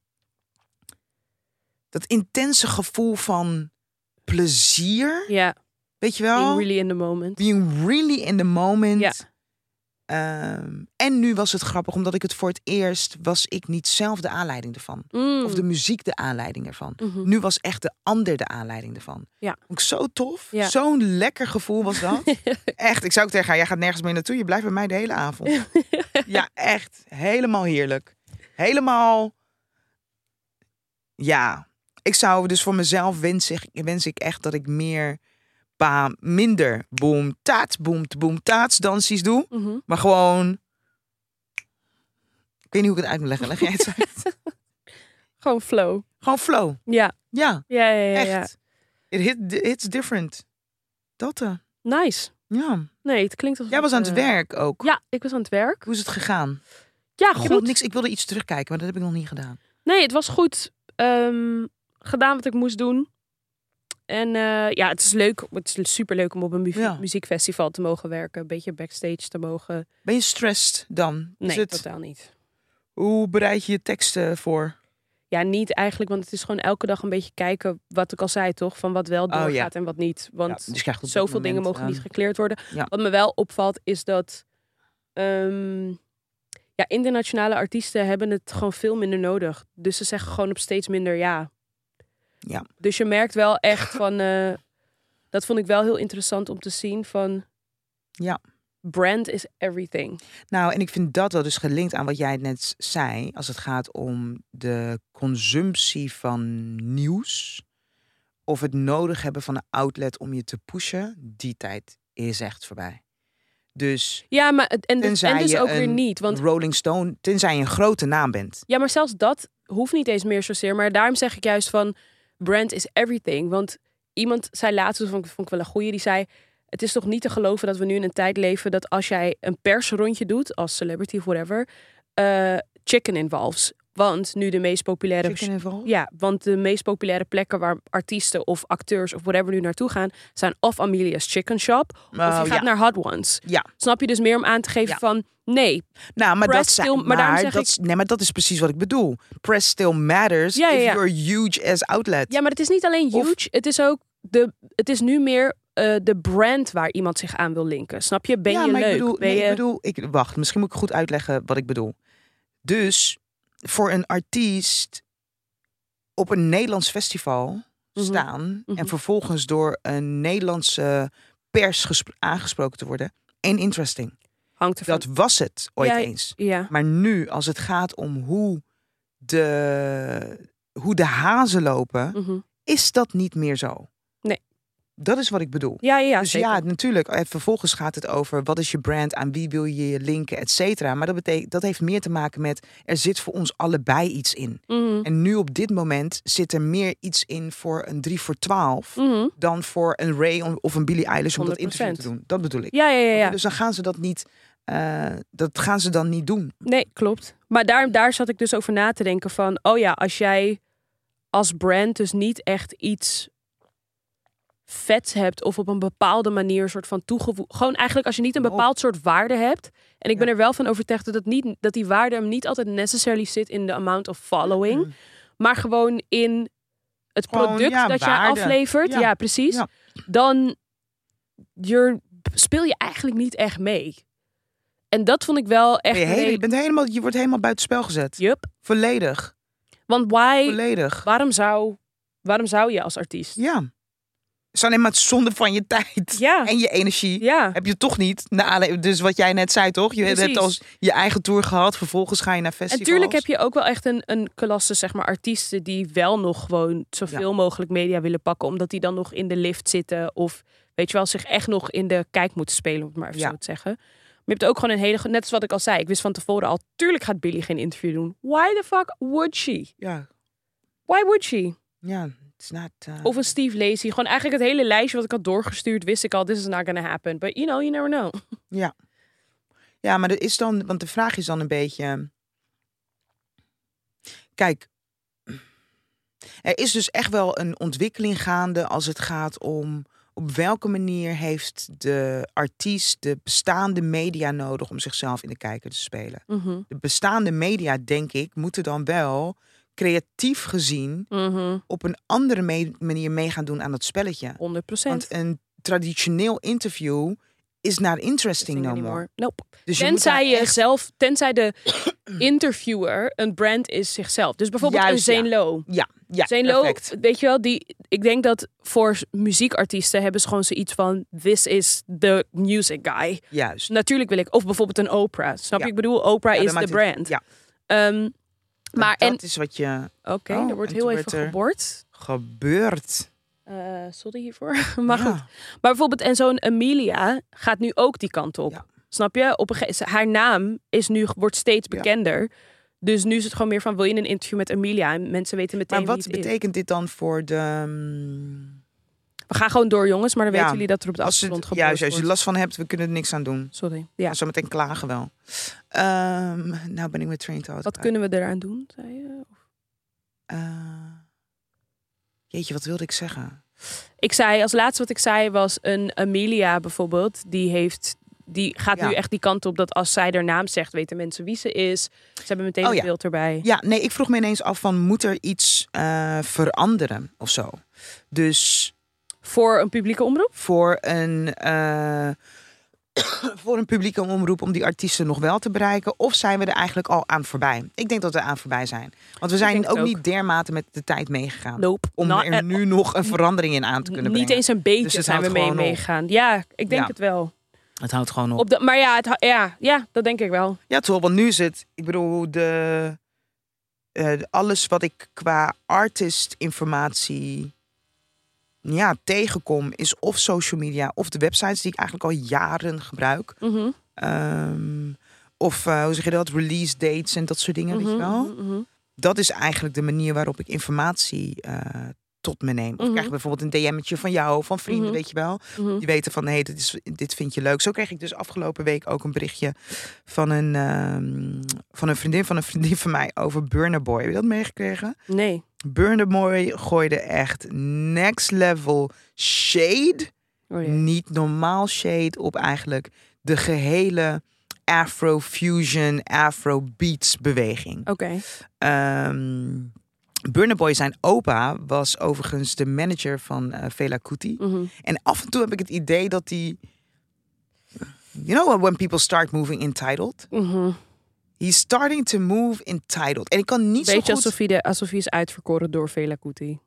S1: Dat intense gevoel van plezier.
S2: Ja.
S1: Weet je
S2: Being
S1: wel?
S2: really in the moment.
S1: Being really in the moment.
S2: Ja.
S1: Ehm, en nu was het grappig, omdat ik het voor het eerst was ik niet zelf de aanleiding ervan.
S2: Mm.
S1: Of de muziek de aanleiding ervan.
S2: Mhm.
S1: Nu was echt de ander de aanleiding ervan.
S2: Ja.
S1: Vond ik zo tof.
S2: Ja.
S1: Zo'n lekker gevoel was dat. echt, ik zou ook tegen haar, jij gaat nergens meer naartoe. Je blijft bij mij de hele avond. ja, echt. Helemaal heerlijk. Helemaal. Ja. Ik zou dus voor mezelf wens ik, wens ik echt dat ik meer, pa, minder boom, taats, boom, boom, taats dansies doe.
S2: Mhm.
S1: Maar gewoon. Ik weet niet hoe ik het uit moet leggen. Leg jij het uit?
S2: Gewoon flow.
S1: Gewoon flow.
S2: Ja,
S1: Ja,
S2: ja, ja, ja. ja.
S1: echt. It hit, it's different. Dat, eh,
S2: Nice.
S1: ja.
S2: Nee, het klinkt als.
S1: Jij was aan het werk ook.
S2: Ja, ik was aan het werk.
S1: Hoe is het gegaan?
S2: Ja,
S1: Ik wilde,
S2: goed.
S1: niks, ik wilde iets terugkijken, maar dat heb ik nog niet gedaan.
S2: Nee, het was goed ehm, gedaan wat ik moest doen. En eh, ja, het is leuk. Het is super leuk om op een mu-
S1: Ja.
S2: muziekfestival te mogen werken. Een beetje backstage te mogen.
S1: Ben je stressed dan? Is
S2: Nee, eh.
S1: het-
S2: totaal niet.
S1: hoe bereid je je teksten voor?
S2: Ja, niet eigenlijk, want het is gewoon elke dag een beetje kijken wat ik al zei, toch? Van wat wel
S1: Oh, ja.
S2: doorgaat en wat niet. Want
S1: Ja, dus je krijgt op dit
S2: zoveel dingen
S1: moment,
S2: mogen niet
S1: ehm,
S2: gekleerd worden.
S1: ja.
S2: Wat me wel opvalt is dat ehm, ja, internationale artiesten hebben het gewoon veel minder nodig. Dus ze zeggen gewoon op steeds minder ja.
S1: Ja.
S2: Dus je merkt wel echt van, eh, dat vond ik wel heel interessant om te zien van,
S1: Ja.
S2: brand is everything.
S1: Nou, en ik vind dat wel dus gelinkt aan wat jij net zei. Als het gaat om de consumptie van nieuws. Of het nodig hebben van een outlet om je te pushen. Die tijd is echt voorbij. Dus
S2: Ja, maar het- en, dus- en
S1: Tenzij
S2: dus
S1: je
S2: ook weer
S1: een
S2: niet, want
S1: Rolling Stone, tenzij je een grote naam bent.
S2: Ja, maar zelfs dat hoeft niet eens meer zozeer. Maar daarom zeg ik juist van brand is everything. Want iemand zei laatst, dat vond ik, vond ik wel een goeie, die zei... Het is toch niet te geloven dat we nu in een tijd leven dat als jij een persrondje doet, als celebrity of whatever, eh, chicken involves. Want nu de meest populaire
S1: Chicken and Vol?
S2: ja, want de meest populaire plekken waar artiesten of acteurs of whatever nu naartoe gaan, zijn of Amelia's Chicken Shop of je
S1: Oh,
S2: gaat
S1: ja.
S2: naar Hot Ones.
S1: Ja.
S2: Snap je dus meer om aan te geven
S1: Ja.
S2: van nee,
S1: Nou, maar dat,
S2: Press
S1: zijn,
S2: still- maar
S1: maar,
S2: daarom zeg
S1: dat,
S2: ik-
S1: is- nee, maar dat is precies wat ik bedoel. Press still matters
S2: Ja, ja,
S1: if
S2: ja.
S1: you're huge as outlet.
S2: Ja, maar het is niet alleen
S1: Of-
S2: huge. Het is ook de. Het is nu meer eh, de brand waar iemand zich aan wil linken. Snap je? Ben
S1: Ja,
S2: je
S1: maar
S2: leuk?
S1: Ik bedoel,
S2: ben
S1: nee,
S2: je...
S1: ik bedoel, ik, wacht, misschien moet ik goed uitleggen wat ik bedoel. Dus voor een artiest op een Nederlands festival
S2: Mhm.
S1: staan
S2: Mhm.
S1: en vervolgens door een Nederlandse pers gespro- aangesproken te worden, en interesting.
S2: hangt ervan.
S1: Dat was het ooit
S2: Ja,
S1: eens.
S2: Ja.
S1: Maar nu, als het gaat om hoe de, hoe de hazen lopen,
S2: Mhm.
S1: is dat niet meer zo.
S2: Nee.
S1: Dat is wat ik bedoel.
S2: ja, ja, ja.
S1: dus
S2: zeker.
S1: ja, natuurlijk. En vervolgens gaat het over wat is je brand, aan wie wil je je linken, et cetera. Maar dat, betekent, dat heeft meer te maken met er zit voor ons allebei iets in.
S2: Mhm.
S1: En nu op dit moment zit er meer iets in voor een 3 voor 12
S2: Mhm.
S1: dan voor een Ray of een Billie Eilish om dat
S2: 100%.
S1: interview te doen. Dat bedoel ik.
S2: ja, ja, ja, ja.
S1: Dus dan gaan ze dat niet, eh, dat gaan ze dan niet doen.
S2: Nee, klopt. Maar daar, daar zat ik dus over na te denken van, oh ja, als jij als brand dus niet echt iets vets hebt of op een bepaalde manier een soort van toegevoegd. Gewoon eigenlijk als je niet een
S1: Kom op.
S2: bepaald soort waarde hebt. En ik ben
S1: Ja.
S2: er wel van overtuigd dat, het niet, dat die waarde hem niet altijd necessarily zit in de amount of following.
S1: Mm.
S2: Maar gewoon in het
S1: Gewoon,
S2: product
S1: ja,
S2: dat jij
S1: waarde.
S2: aflevert. Ja,
S1: Ja.
S2: precies.
S1: Ja.
S2: Dan you're- speel je eigenlijk niet echt mee. En dat vond ik wel echt...
S1: Ben je,
S2: een
S1: hele- je,
S2: reden-
S1: bent helemaal, je wordt helemaal buitenspel gezet.
S2: Yup.
S1: Volledig.
S2: Want why,
S1: Volledig.
S2: waarom, zou, waarom zou je als artiest?
S1: Ja. Het is alleen maar het zonde van je tijd.
S2: Ja.
S1: En je energie.
S2: Ja,
S1: Heb je toch niet. Na aanleiding- dus wat jij net zei, toch? Je
S2: Precies.
S1: hebt als je eigen tour gehad. Vervolgens ga je naar festivals.
S2: en tuurlijk heb je ook wel echt een, een klasse, zeg maar, artiesten die wel nog gewoon zoveel mogelijk media willen pakken, omdat die dan nog in de lift zitten of, weet je wel, zich echt nog in de kijk moeten spelen, om het maar even
S1: Ja.
S2: zo te zeggen. Maar je hebt ook gewoon een hele, go- net als wat ik al zei, ik wist van tevoren al, tuurlijk gaat Billy geen interview doen. Why the fuck would she?
S1: Ja,
S2: Why would she?
S1: ja. It's not, eh,
S2: Of een Steve Lacey. Gewoon eigenlijk het hele lijstje wat ik had doorgestuurd, wist ik al, this is not gonna happen. But you know, you never know.
S1: Ja, maar dat is dan. Want de vraag is dan een beetje. Kijk. Er is dus echt wel een ontwikkeling gaande als het gaat om op welke manier heeft de artiest de bestaande media nodig om zichzelf in de kijker te spelen.
S2: Mhm.
S1: De bestaande media, denk ik, moeten dan wel creatief gezien
S2: Mhm.
S1: op een andere me- manier mee gaan doen aan dat spelletje.
S2: 100%.
S1: Want een traditioneel interview is not interesting no
S2: Nope.
S1: more.
S2: Nope.
S1: Dus je moet daar
S2: Tenzij je
S1: echt-
S2: zelf, tenzij de interviewer een brand is zichzelf. Dus bijvoorbeeld
S1: Juist,
S2: een
S1: ja.
S2: Zane Low.
S1: Ja, ja,
S2: Zane Low,
S1: perfect.
S2: weet je wel, die, ik denk dat voor muziekartiesten hebben ze gewoon zoiets van... This is the music guy. Dus
S1: Juist.
S2: Natuurlijk wil ik, of bijvoorbeeld een Oprah. Snap
S1: Ja.
S2: je? Ik bedoel, Oprah
S1: Ja,
S2: is
S1: dat
S2: de
S1: maakt het-
S2: brand.
S1: ja.
S2: Ehm, maar
S1: dat
S2: en,
S1: is wat je
S2: oké,
S1: Oh,
S2: er wordt
S1: en
S2: heel
S1: toen
S2: even
S1: werd er-
S2: geboord.
S1: gebeurt.
S2: Eh, sorry hiervoor. Maar
S1: Ja.
S2: goed. Maar bijvoorbeeld, en zo'n Amelia gaat nu ook die kant op.
S1: Ja.
S2: Snap je? Op een ge- ze- haar naam is nu, wordt steeds
S1: Ja.
S2: bekender. Dus nu is het gewoon meer van, wil je een interview met Amelia? En mensen weten meteen
S1: Maar wat
S2: wie het is.
S1: betekent dit dan voor de... ehm, mm,
S2: We gaan gewoon door, jongens. Maar dan
S1: Ja.
S2: weten jullie dat er op de
S1: Als je,
S2: achtergrond geboord
S1: juist, als je
S2: wordt.
S1: last van hebt, we kunnen er niks aan doen.
S2: Sorry. Ja.
S1: Ja. Zo meteen klagen wel. Ehm, nou ben ik met train out.
S2: Wat kunnen we eraan doen? zei je?
S1: Eh, jeetje, wat wilde ik zeggen?
S2: Ik zei, als laatste wat ik zei was een Amelia bijvoorbeeld. Die heeft... Die gaat
S1: Ja.
S2: nu echt die kant op dat als zij haar naam zegt, weten mensen wie ze is. Ze hebben meteen
S1: Oh,
S2: het
S1: ja.
S2: beeld erbij.
S1: Ja, nee, ik vroeg me ineens af van moet er iets eh, veranderen of zo? Dus
S2: Voor een publieke omroep?
S1: voor een, eh, voor een publieke omroep om die artiesten nog wel te bereiken? Of zijn we er eigenlijk al aan voorbij? Ik denk dat we aan voorbij zijn. Want we
S2: denk
S1: zijn
S2: het
S1: ook,
S2: ook.
S1: niet dermate met de tijd meegegaan.
S2: Nope.
S1: Om
S2: Not
S1: er
S2: at
S1: nu nog een verandering in aan te kunnen
S2: Niet
S1: brengen.
S2: eens een beetje
S1: Dus het
S2: zijn we
S1: houdt
S2: mee
S1: gewoon op.
S2: meegaan. Ja, ik denk
S1: Ja.
S2: het wel.
S1: Het houdt gewoon op.
S2: Op de, maar ja, het, hou- ja, ja, dat denk ik wel.
S1: Ja, toch, want nu is het, ik bedoel, de, eh, alles wat ik qua artist-informatie ja, tegenkom, is of social media of de websites die ik eigenlijk al jaren gebruik.
S2: Mhm,
S1: Ehm, of eh, hoe zeg je dat? Release dates en dat soort dingen, weet je
S2: mhm,
S1: wel.
S2: mhm, mhm.
S1: Dat is eigenlijk de manier waarop ik informatie eh, tot me neem. Of
S2: Mhm.
S1: ik krijg bijvoorbeeld een DM'tje van jou, van vrienden,
S2: Mhm.
S1: weet je wel.
S2: Mhm.
S1: Die weten van, hé, dit, is, dit vind je leuk. Zo kreeg ik dus afgelopen week ook een berichtje van een, ehm, van een vriendin van een vriendin van mij over Burner Boy. Heb je dat meegekregen?
S2: Nee.
S1: Burner Boy gooide echt next level shade.
S2: Oh, ja.
S1: Niet normaal shade op eigenlijk de gehele Afrofusion, Afrobeats beweging.
S2: Oké.
S1: Ehm Burner Boy, zijn opa, was overigens de manager van eh, Fela Kuti.
S2: Mhm.
S1: En af en toe heb ik het idee dat hij... You know when people start moving entitled?
S2: Mhm.
S1: He's starting to move entitled. En ik kan niet
S2: Beetje
S1: zo goed...
S2: alsof hij, de, alsof hij is uitverkoren door Vela Kuti.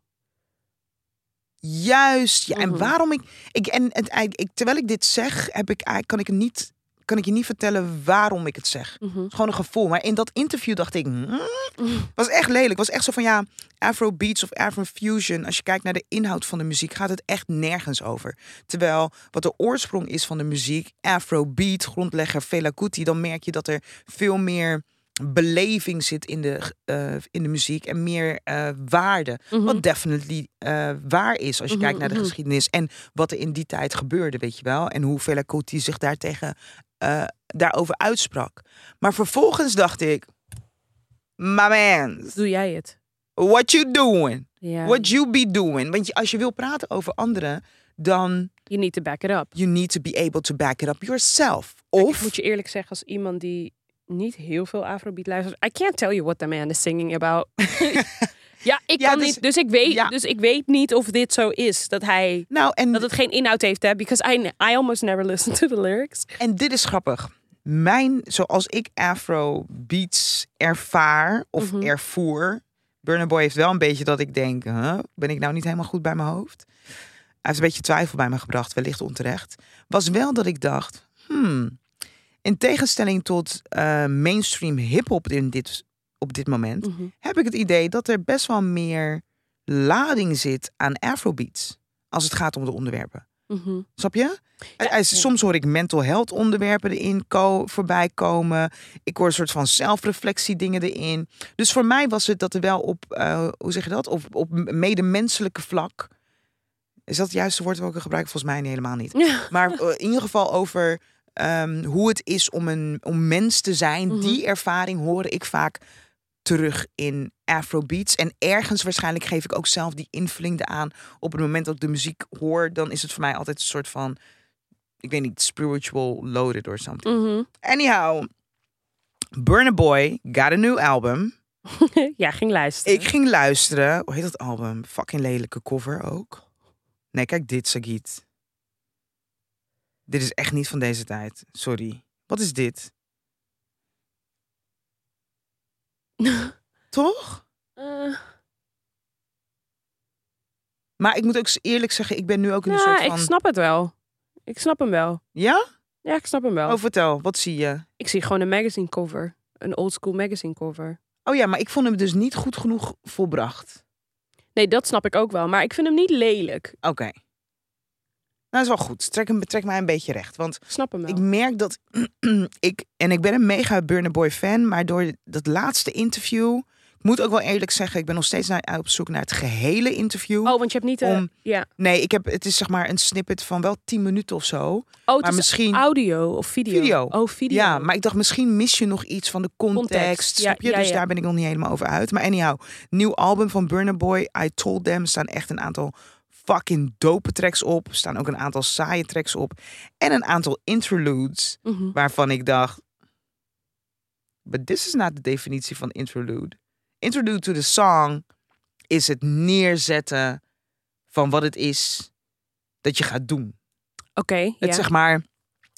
S1: Juist. Ja,
S2: Mhm.
S1: En waarom ik... ik en het, ei- ik, terwijl ik dit zeg, heb ik, ei- kan, ik het niet, kan ik je niet vertellen waarom ik het zeg. Het
S2: Mhm.
S1: is Gewoon een gevoel. Maar in dat interview dacht ik... hmm, was echt lelijk. was echt zo van ja, Afrobeats of Afrofusion. Als je kijkt naar de inhoud van de muziek, gaat het echt nergens over. Terwijl wat de oorsprong is van de muziek, Afrobeat, grondlegger Fela Kuti, dan merk je dat er veel meer beleving zit in de, eh, in de muziek en meer eh, waarde.
S2: Mhm.
S1: Wat definitely eh, waar is als je
S2: Mhm,
S1: kijkt naar de
S2: mhm.
S1: geschiedenis en wat er in die tijd gebeurde, weet je wel. En hoe Fela Kuti zich daartegen, eh, daarover uitsprak. Maar vervolgens dacht ik, my man,
S2: Doe jij het?
S1: what you doing?
S2: Ja.
S1: What you be doing? Want je- als je wil praten over anderen, dan
S2: You need to back it up.
S1: you need to be able to back it up yourself.
S2: Ik
S1: Of
S2: moet je eerlijk zeggen, als iemand die niet heel veel Afrobeat luistert, I can't tell you what the man is singing about. ja, ik
S1: Ja,
S2: kan
S1: dus-
S2: niet. Dus ik, weet,
S1: ja.
S2: dus ik weet niet of dit zo is dat hij
S1: nou en
S2: Dat het geen inhoud heeft, hè? Because I, I almost never listen to the lyrics.
S1: En dit is grappig. Mijn, zoals ik afro beats ervaar of
S2: Mhm.
S1: ervoer. Burner Boy heeft wel een beetje dat ik denk, huh, ben ik nou niet helemaal goed bij mijn hoofd? Hij heeft een beetje twijfel bij me gebracht, wellicht onterecht. Was wel dat ik dacht, hmm, in tegenstelling tot eh, mainstream hip-hop in dit, op dit moment, heb ik het idee dat er best wel meer lading zit aan afrobeats. Als het gaat om de onderwerpen.
S2: Mhm.
S1: Snap je?
S2: Ja,
S1: Eh, eh,
S2: ja.
S1: Soms hoor ik mental health onderwerpen erin ko- voorbij komen. Ik hoor een soort van zelfreflectie dingen erin. Dus voor mij was het dat er wel op, eh, hoe zeg je dat? Op, op medemenselijke vlak. Is dat het juiste woord wat ik gebruik? Volgens mij niet, helemaal niet.
S2: Ja.
S1: Maar eh, in ieder geval over ehm, hoe het is om een om mens te zijn.
S2: Mhm.
S1: Die ervaring hoor ik vaak terug in Afrobeats. En ergens waarschijnlijk geef ik ook zelf die invulling eraan. Op het moment dat ik de muziek hoor, dan is het voor mij altijd een soort van... Ik weet niet, spiritual loaded or something.
S2: Mhm.
S1: Anyhow, Burna Boy got a new album.
S2: ja, ging luisteren.
S1: Ik ging luisteren. Hoe heet dat album? Fucking lelijke cover ook. Nee, kijk dit, Sagit. Dit is echt niet van deze tijd. Sorry. Wat is dit? Toch?
S2: Eh,
S1: Maar ik moet ook eerlijk zeggen, ik ben nu ook in een
S2: nou,
S1: soort van...
S2: ik snap het wel. Ik snap hem wel.
S1: Ja?
S2: Ja, ik snap hem wel.
S1: Oh, vertel. Wat zie je?
S2: Ik zie gewoon een magazine cover. Een old school magazine cover.
S1: Oh ja, maar ik vond hem dus niet goed genoeg volbracht.
S2: Nee, dat snap ik ook wel. Maar ik vind hem niet lelijk.
S1: Oké. Nou, dat is wel goed. Trek, hem, trek mij een beetje recht. Want
S2: Ik snap hem wel.
S1: ik merk dat ik... En ik ben een mega Burner Boy fan. Maar door dat laatste interview... Ik moet ook wel eerlijk zeggen, ik ben nog steeds naar, op zoek naar het gehele interview.
S2: Oh, want je hebt niet... eh
S1: Om-
S2: ja.
S1: Nee, ik heb, het is zeg maar een snippet van wel 10 minuten of zo.
S2: Oh, het
S1: maar
S2: is
S1: misschien...
S2: audio of video.
S1: Video.
S2: Oh, video.
S1: Ja, maar ik dacht, misschien mis je nog iets van de context.
S2: Context, ja,
S1: Snap je?
S2: ja,
S1: dus
S2: ja.
S1: daar ben ik nog niet helemaal over uit. Maar anyhow, nieuw album van Burner Boy, I Told Them, staan echt een aantal fucking dope tracks op. Er staan ook een aantal saaie tracks op. En een aantal interludes,
S2: Mhm.
S1: waarvan ik dacht... But this is not de definitie van interlude. Interlude to the song is het neerzetten van wat het is dat je gaat doen.
S2: Oké,
S1: Het
S2: ja.
S1: zeg maar,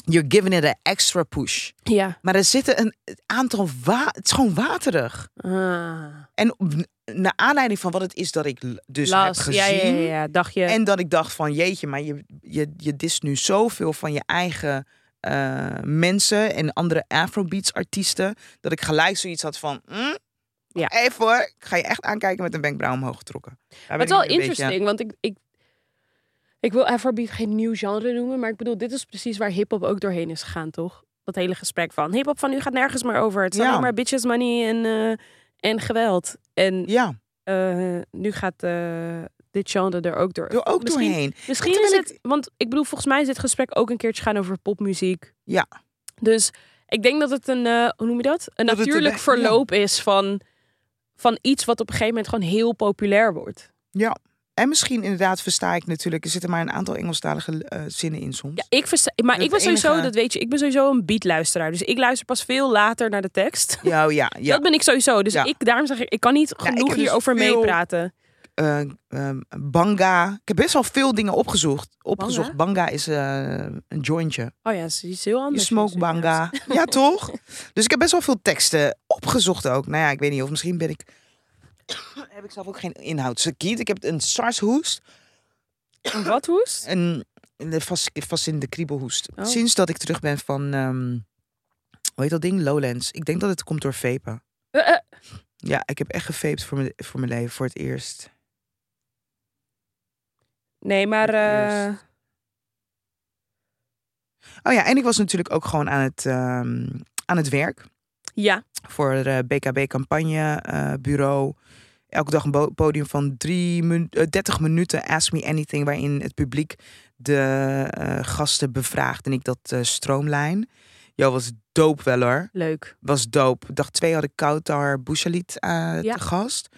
S1: you're giving it an extra push.
S2: Ja.
S1: Maar er zitten een aantal wa het is gewoon waterig.
S2: Ah.
S1: En op- naar aanleiding van wat het is dat ik l- dus
S2: Las.
S1: heb gezien.
S2: Ja, ja, ja, ja. Dacht je...
S1: En dat ik dacht van jeetje, maar je, je, je dist nu zoveel van je eigen eh, mensen en andere Afrobeats artiesten. Dat ik gelijk zoiets had van. mm,
S2: Ja.
S1: Even hoor, ik ga je echt aankijken met een wenkbrauw omhoog getrokken. Daar ben
S2: Maar
S1: ik
S2: het is
S1: nu
S2: wel
S1: een
S2: interesting, want ik, ik, ik wil Afrobeat geen nieuw genre noemen, maar ik bedoel, dit is precies waar hip-hop ook doorheen is gegaan, toch? Dat hele gesprek van hip-hop van nu gaat nergens meer over. Het zijn
S1: Ja.
S2: alleen maar bitches, money en, eh, en geweld. En
S1: Beetje, ja,
S2: eh, nu gaat eh, dit genre er ook door.
S1: door ook
S2: Misschien-
S1: doorheen.
S2: Misschien is
S1: Terwijl
S2: het, want ik bedoel, volgens mij is dit gesprek ook een keertje gaan over popmuziek.
S1: Ja.
S2: Dus ik denk dat het een, eh, hoe noem je dat? Een
S1: Dat het
S2: natuurlijk
S1: erbij-
S2: verloop is van, van iets wat op een gegeven moment gewoon heel populair wordt.
S1: En misschien inderdaad versta ik natuurlijk, er zitten maar een aantal Engelstalige eh, zinnen in soms.
S2: Ja, ik versta, maar
S1: Dat
S2: ik was
S1: enige-
S2: sowieso, dat weet je, ik ben sowieso een beatluisteraar. Dus ik luister pas veel later naar de tekst.
S1: Ja, oh ja, ja.
S2: Dat ben ik sowieso. Dus
S1: Ja.
S2: ik, daarom zeg ik, ik kan niet
S1: ik
S2: genoeg
S1: heb dus
S2: hierover
S1: veel-
S2: meepraten.
S1: eh, ehm, Banga. Ik heb best wel veel dingen opgezocht. opgezocht. Banga, is eh, een jointje.
S2: Oh ja, ze is heel
S1: Je
S2: anders.
S1: smoke banga. Ja, toch? Dus ik heb best wel veel teksten opgezocht ook. Nou ja, ik weet niet of misschien ben ik... heb ik zelf ook geen inhoud. Sakiet, ik heb een SARS-hoest.
S2: Een Wat hoest?
S1: Een, een vast, vast in de kriebelhoest.
S2: Oh.
S1: Sinds dat ik terug ben van... ehm, hoe heet dat ding? Lowlands. Ik denk dat het komt door vapen.
S2: Eh, eh,
S1: Ja, ik heb echt gevaped voor mijn, voor mijn leven, voor het eerst.
S2: Nee, maar eh,
S1: Eerst. Oh ja, en ik was natuurlijk ook gewoon aan het, ehm, aan het werk.
S2: ja.
S1: voor eh, het BKB-campagnebureau. eh, Elke dag een bo- podium van drie minu- eh, 30 minuten Ask Me Anything, waarin het publiek de eh, gasten bevraagt. En ik dat eh, stroomlijn. Jo, was doop wel hoor.
S2: Leuk.
S1: Was doop. Dag twee had ik Kautar Bouchalit eh
S2: Ja.
S1: te gast.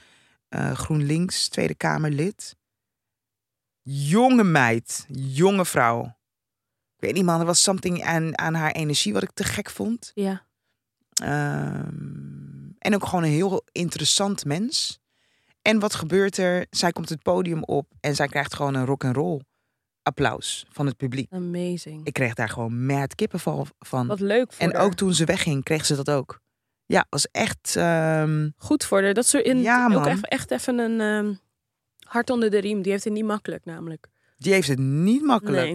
S1: Eh, GroenLinks, Tweede Kamerlid. Jonge meid, jonge vrouw. Ik weet niet man, er was something aan, aan haar energie wat ik te gek vond.
S2: Ja.
S1: Ehm, en ook gewoon een heel interessant mens. En wat gebeurt er? Zij komt het podium op en zij krijgt gewoon een rock and roll applaus van het publiek.
S2: Amazing.
S1: Ik kreeg daar gewoon mad kippenval van.
S2: Wat leuk voor
S1: en
S2: haar.
S1: ook toen ze wegging, kreeg ze dat ook. Ja, was echt. ehm,
S2: Goed voor haar. Dat ze in
S1: Ja,
S2: ook
S1: man.
S2: echt, echt even een ehm, hart onder de riem. Die heeft het niet makkelijk namelijk.
S1: die heeft het niet makkelijk.
S2: Nee.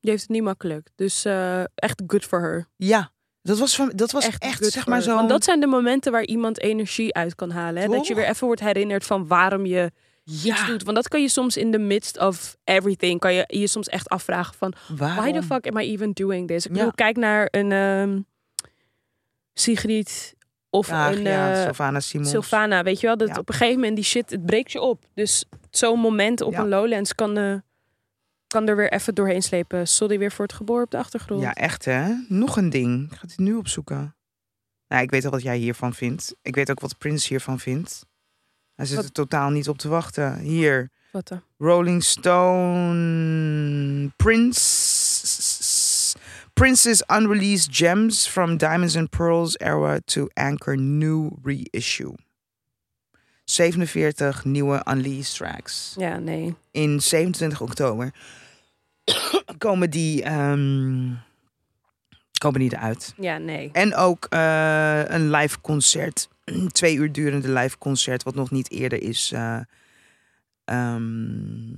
S2: Die heeft het niet makkelijk. Dus eh, echt good for her.
S1: Ja, dat was, van, dat was echt,
S2: good
S1: zeg
S2: for
S1: maar
S2: her.
S1: zo.
S2: Want dat zijn de momenten waar iemand energie uit kan halen. Hè? Dat je
S1: Toch?
S2: weer even wordt herinnerd van waarom je iets
S1: ja,
S2: doet. Want dat kan je soms in the midst of everything. Kan je je soms echt afvragen van...
S1: waarom?
S2: Why the fuck am I even doing this? Ik
S1: Ja.
S2: bedoel, kijk naar een ehm Sigrid of
S1: Ach,
S2: een
S1: ja,
S2: eh,
S1: Sylvana Simons.
S2: Sylvana. Weet je wel, dat
S1: Ja.
S2: op een gegeven moment die shit, het breekt je op. Dus zo'n moment op
S1: Ja.
S2: een Lowlands kan, eh, kan er weer even doorheen slepen. Sorry weer voor het geboor op de achtergrond.
S1: Ja, echt hè? Nog een ding. Ik ga het nu opzoeken. Nou, ik weet al wat jij hiervan vindt. Ik weet ook wat Prince hiervan vindt. Hij zit
S2: Wat?
S1: er totaal niet op te wachten. Hier,
S2: Wat dan?
S1: Rolling Stone, Prince, Prince's unreleased gems from Diamonds and Pearls era to Anchor new reissue. 47 nieuwe unreleased tracks
S2: Ja, nee.
S1: in 27 oktober. komen die, ehm, komen die eruit.
S2: Ja, nee.
S1: En ook eh, een live concert. Een Twee uur durende live concert, wat nog niet eerder is eh, ehm,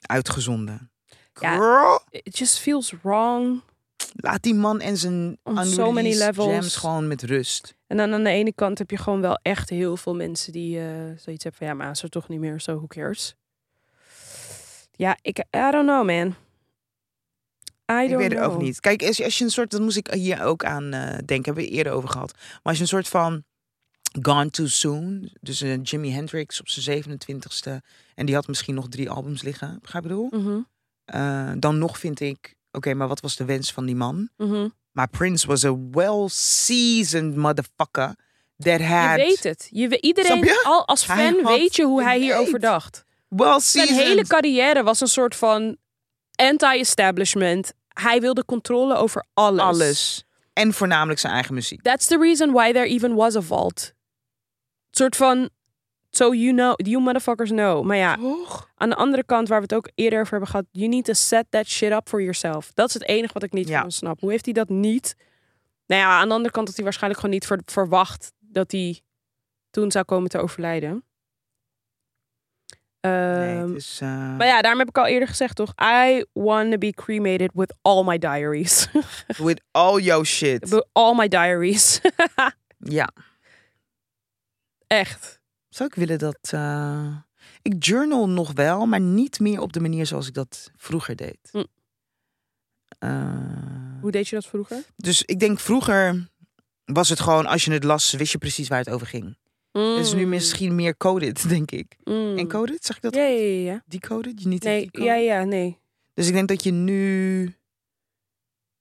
S1: uitgezonden.
S2: Ja.
S1: Girl,
S2: It just feels wrong.
S1: laat die man en zijn
S2: On so
S1: unreleased
S2: many levels.
S1: jams gewoon met rust.
S2: En dan aan de ene kant heb je gewoon wel echt heel veel mensen die eh, zoiets hebben van ja, maar Aas er toch niet meer, zo who cares. Ja, ik, I don't know man. I don't
S1: Ik weet het ook
S2: know.
S1: niet. Kijk, als je, als je een soort, dat moest ik hier ook aan eh, denken, hebben we eerder over gehad. Maar als je een soort van Gone Too Soon, dus eh, Jimi Hendrix op zijn 27ste, en die had misschien nog drie albums liggen, begrijp je wat ik bedoel?
S2: Mhm,
S1: Eh, dan nog vind ik, oké, maar wat was de wens van die man?
S2: mhm.
S1: Maar Prince was a well-seasoned motherfucker that
S2: Je
S1: had
S2: weet het. Je, we- iedereen,
S1: Snap je?
S2: al, als
S1: Hij
S2: fan
S1: had-
S2: weet je hoe
S1: ik
S2: hij hierover
S1: weet.
S2: dacht. Zijn
S1: well-seasoned.
S2: hele carrière was een soort van anti-establishment. Hij wilde controle over alles.
S1: alles. En voornamelijk zijn eigen muziek.
S2: That's the reason why there even was a vault. soort van, so you know, you motherfuckers know. Maar ja,
S1: Toch?
S2: Aan de andere kant, waar we het ook eerder over hebben gehad, you need to set that shit up for yourself. Dat is het enige wat ik niet
S1: Ja.
S2: van hem snap. Hoe heeft hij dat niet? Nou ja, aan de andere kant had hij waarschijnlijk gewoon niet ver- verwacht dat hij toen zou komen te overlijden.
S1: nee,
S2: Ehm,
S1: het is, eh,
S2: Maar ja, daarom heb ik al eerder gezegd, toch? I wanna be cremated with all my diaries.
S1: With all your shit.
S2: with all my diaries.
S1: ja.
S2: Echt.
S1: Zou ik willen dat... eh, ik journal nog wel, maar niet meer op de manier zoals ik dat vroeger deed.
S2: Hm.
S1: Eh,
S2: Hoe deed je dat vroeger?
S1: dus ik denk vroeger was het gewoon, als je het las, wist je precies waar het over ging. Het is nu
S2: Mm,
S1: misschien meer coded, denk ik.
S2: mm.
S1: Encoded, zeg ik dat?
S2: Ja, ja, ja, ja.
S1: Decoded? Je niet
S2: Nee,
S1: decoded?
S2: ja, ja, nee.
S1: Dus ik denk dat je nu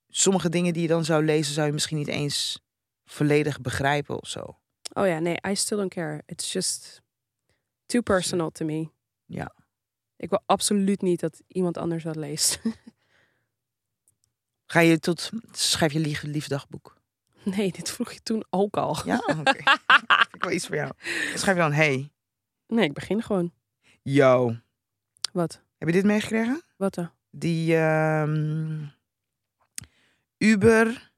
S1: sommige dingen die je dan zou lezen, zou je misschien niet eens volledig begrijpen of zo.
S2: Oh ja, nee, I still don't care. It's just too personal to me.
S1: Ja.
S2: Ik wil absoluut niet dat iemand anders dat leest.
S1: Ga je tot schrijf je lief- liefdagboek?
S2: Nee, dit vroeg je toen ook al.
S1: Ja, Oh, oké. Vind ik wel iets voor jou. Schrijf je dan hey,
S2: Nee, ik begin gewoon.
S1: yo.
S2: Wat?
S1: Heb je dit meegekregen?
S2: Wat dan?
S1: Die ehm, Uber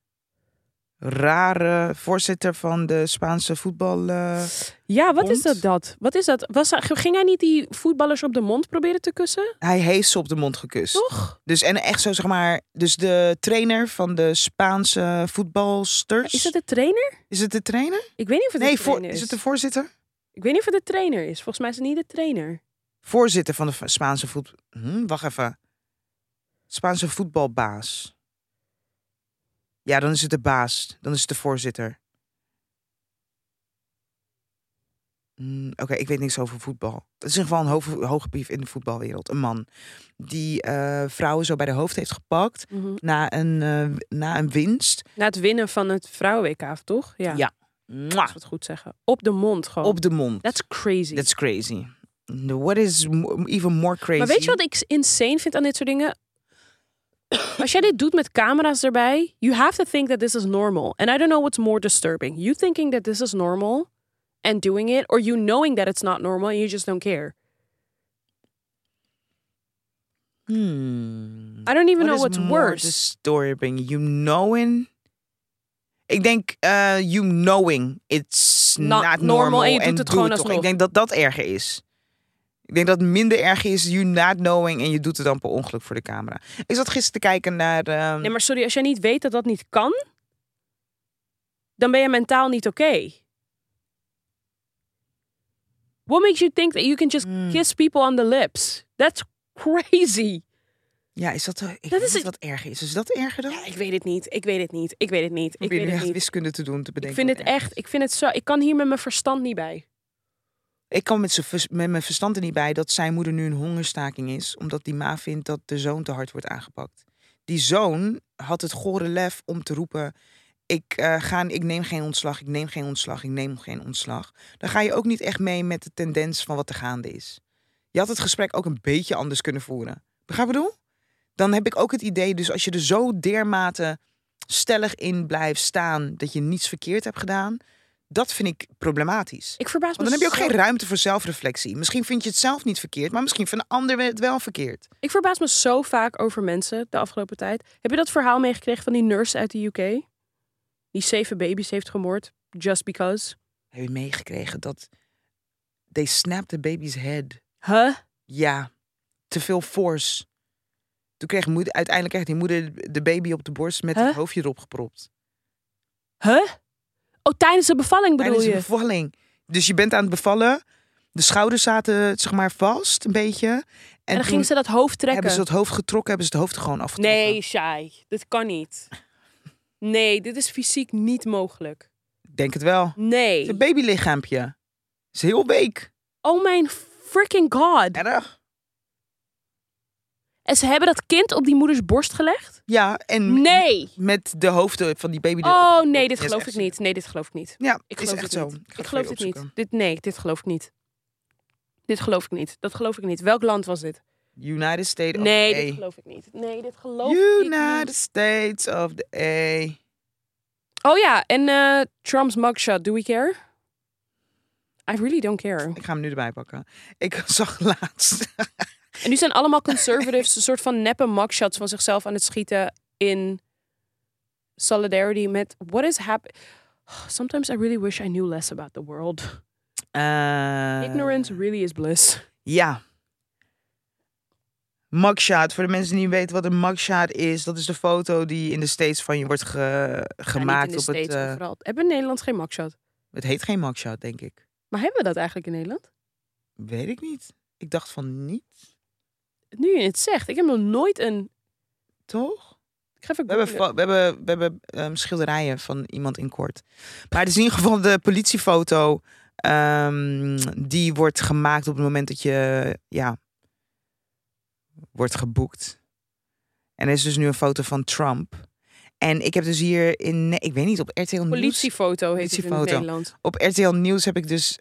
S1: rare voorzitter van de Spaanse voetbal. eh,
S2: Ja, wat
S1: Mond?
S2: is dat, dat? Wat is dat? Was, hij- ging hij niet die voetballers op de mond proberen te kussen?
S1: hij heeft ze op de mond gekust.
S2: Toch?
S1: Dus en echt zo zeg maar, dus de trainer van de Spaanse voetbalsters.
S2: Is het de trainer?
S1: Is het de trainer?
S2: Ik weet niet of het
S1: nee,
S2: de
S1: voor-
S2: trainer is.
S1: is het de voorzitter?
S2: Ik weet niet of het de trainer is. Volgens mij is het niet de trainer.
S1: Voorzitter van de va- Spaanse voet. Hm, wacht even. Spaanse voetbalbaas. Ja, dan is het de baas. Dan is het de voorzitter. Hm, Oké, ik weet niks over voetbal. Het is in ieder geval een hoge, hoge brief in de voetbalwereld. Een man die eh, vrouwen zo bij de hoofd heeft gepakt na een, eh, na een winst.
S2: Na het winnen van het vrouwen-WK, toch? Ja.
S1: Ja.
S2: Als we het goed zeggen. Op de mond gewoon.
S1: Op de mond.
S2: That's crazy.
S1: That's crazy. What is mo- even more crazy?
S2: Maar weet je wat ik insane vind aan dit soort dingen? Als jij dit doet met camera's erbij, you have to think that this is normal. And I don't know what's more disturbing. You thinking that this is normal and doing it, or you knowing that it's not normal and you just don't care.
S1: Hmm.
S2: I don't even know
S1: What
S2: what's
S1: is more
S2: worse.
S1: disturbing? You knowing? Ik denk eh, you knowing it's
S2: Not
S1: not,
S2: normal en je doet het
S1: doe
S2: gewoon
S1: toch.
S2: alsnog.
S1: Ik denk dat dat erger is. Ik denk dat het minder erg is you not knowing en je doet het dan per ongeluk voor de camera. Ik zat gisteren te kijken naar... ehm,
S2: Nee, maar sorry, als jij niet weet dat dat niet kan, dan ben je mentaal niet oké. What makes you think that you can just
S1: Mm.
S2: kiss people on the lips? That's crazy.
S1: Ja, is dat... eh, Ik
S2: Dat
S1: dat
S2: is
S1: is
S2: het-
S1: wat erger is. Is dat erger dan?
S2: Ja, ik weet het niet. Ik weet het niet. Ik weet het niet. Ik
S1: Probeer
S2: weet
S1: nu
S2: het
S1: echt
S2: niet.
S1: wiskunde te doen, te
S2: Ik
S1: bedenken.
S2: vind
S1: wat
S2: het
S1: erger
S2: echt, ik vind het zo, ik kan hier met mijn verstand niet bij.
S1: Ik kan met, z'n vers- met mijn verstand er niet bij dat zijn moeder nu een hongerstaking is. Omdat die ma vindt dat de zoon te hard wordt aangepakt. Die zoon had het gore lef om te roepen... Ik, eh, ga, ik neem geen ontslag, ik neem geen ontslag, ik neem geen ontslag. Dan ga je ook niet echt mee met de tendens van wat er gaande is. Je had het gesprek ook een beetje anders kunnen voeren. Begrijp je wat ik bedoel? Dan heb ik ook het idee, dus als je er zo dermate stellig in blijft staan... dat je niets verkeerd hebt gedaan dat vind ik problematisch.
S2: Ik verbaas me
S1: Want dan heb je ook
S2: zo-
S1: geen ruimte voor zelfreflectie. Misschien vind je het zelf niet verkeerd, maar misschien vindt een ander het wel verkeerd.
S2: Ik verbaas me zo vaak over mensen de afgelopen tijd. Heb je dat verhaal meegekregen van die nurse uit de UK? Die zeven baby's heeft gemoord. Just because.
S1: Heb je meegekregen dat they snapped the baby's head?
S2: Huh?
S1: Ja, te veel force. Toen kreeg moeder, uiteindelijk kreeg die moeder de baby op de borst met
S2: Huh?
S1: het hoofdje erop gepropt.
S2: Huh? Oh, tijdens de bevalling bedoel
S1: Tijdens de
S2: je?
S1: bevalling. Dus je bent aan het bevallen. De schouders zaten zeg maar vast, een beetje. En,
S2: en dan
S1: toen
S2: ging ze dat hoofd trekken.
S1: hebben ze het hoofd getrokken, hebben ze het hoofd er gewoon afgetrokken.
S2: Nee, Shai. Dit kan niet. Nee, dit is fysiek niet mogelijk.
S1: Ik Denk het wel. Het is
S2: Nee.
S1: een babylichaampje. Het is heel week.
S2: Oh mijn freaking god.
S1: Erg.
S2: En ze hebben dat kind op die moeders borst gelegd?
S1: Ja, en
S2: Nee.
S1: met de hoofden van die baby. erop.
S2: Oh nee, dit
S1: Ja, is
S2: geloof ik
S1: echt
S2: niet. Nee, dit geloof ik niet.
S1: Ja,
S2: Ik
S1: is
S2: geloof
S1: echt
S2: dit
S1: zo.
S2: niet.
S1: ga
S2: Ik
S1: het
S2: geloof
S1: voor
S2: dit
S1: je
S2: niet. Dit, nee, dit geloof ik niet. Dit geloof ik niet. Dat geloof ik niet. Welk land was dit?
S1: opzoeken. United States of
S2: Nee,
S1: the
S2: dit
S1: A.
S2: geloof ik niet. Nee, dit geloof ik
S1: United
S2: niet.
S1: States of the A.
S2: Oh ja, en eh, Trump's mugshot. Do we care? I really don't care.
S1: Ik ga hem nu erbij pakken. Ik zag laatst.
S2: En nu zijn allemaal conservatives een soort van neppe mugshots van zichzelf aan het schieten in solidarity met what is happening. Sometimes I really wish I knew less about the world.
S1: Eh,
S2: Ignorance really is bliss.
S1: Ja. Mugshot. Voor de mensen die niet weten wat een mugshot is, dat is de foto die in de States van je wordt ge- gemaakt.
S2: Ja, niet in de
S1: op het,
S2: States,
S1: eh,
S2: overal. Hebben we in Nederland geen mugshot?
S1: het heet geen mugshot, denk ik.
S2: Maar hebben we dat eigenlijk in Nederland?
S1: Weet ik niet. Ik dacht van niet,
S2: Nu je het zegt, ik heb nog nooit een.
S1: toch?
S2: Ik ga even
S1: We hebben,
S2: googlen.
S1: fo- we hebben, we hebben ehm, schilderijen van iemand in kort. Maar het is in ieder geval de politiefoto. ehm, die wordt gemaakt op het moment dat je ja, wordt geboekt. En er is dus nu een foto van Trump. En ik heb dus hier in, nee, ik weet niet, op RTL Nieuws.
S2: politiefoto heet het in het
S1: Politiefoto.
S2: Nederland.
S1: Op RTL Nieuws heb ik dus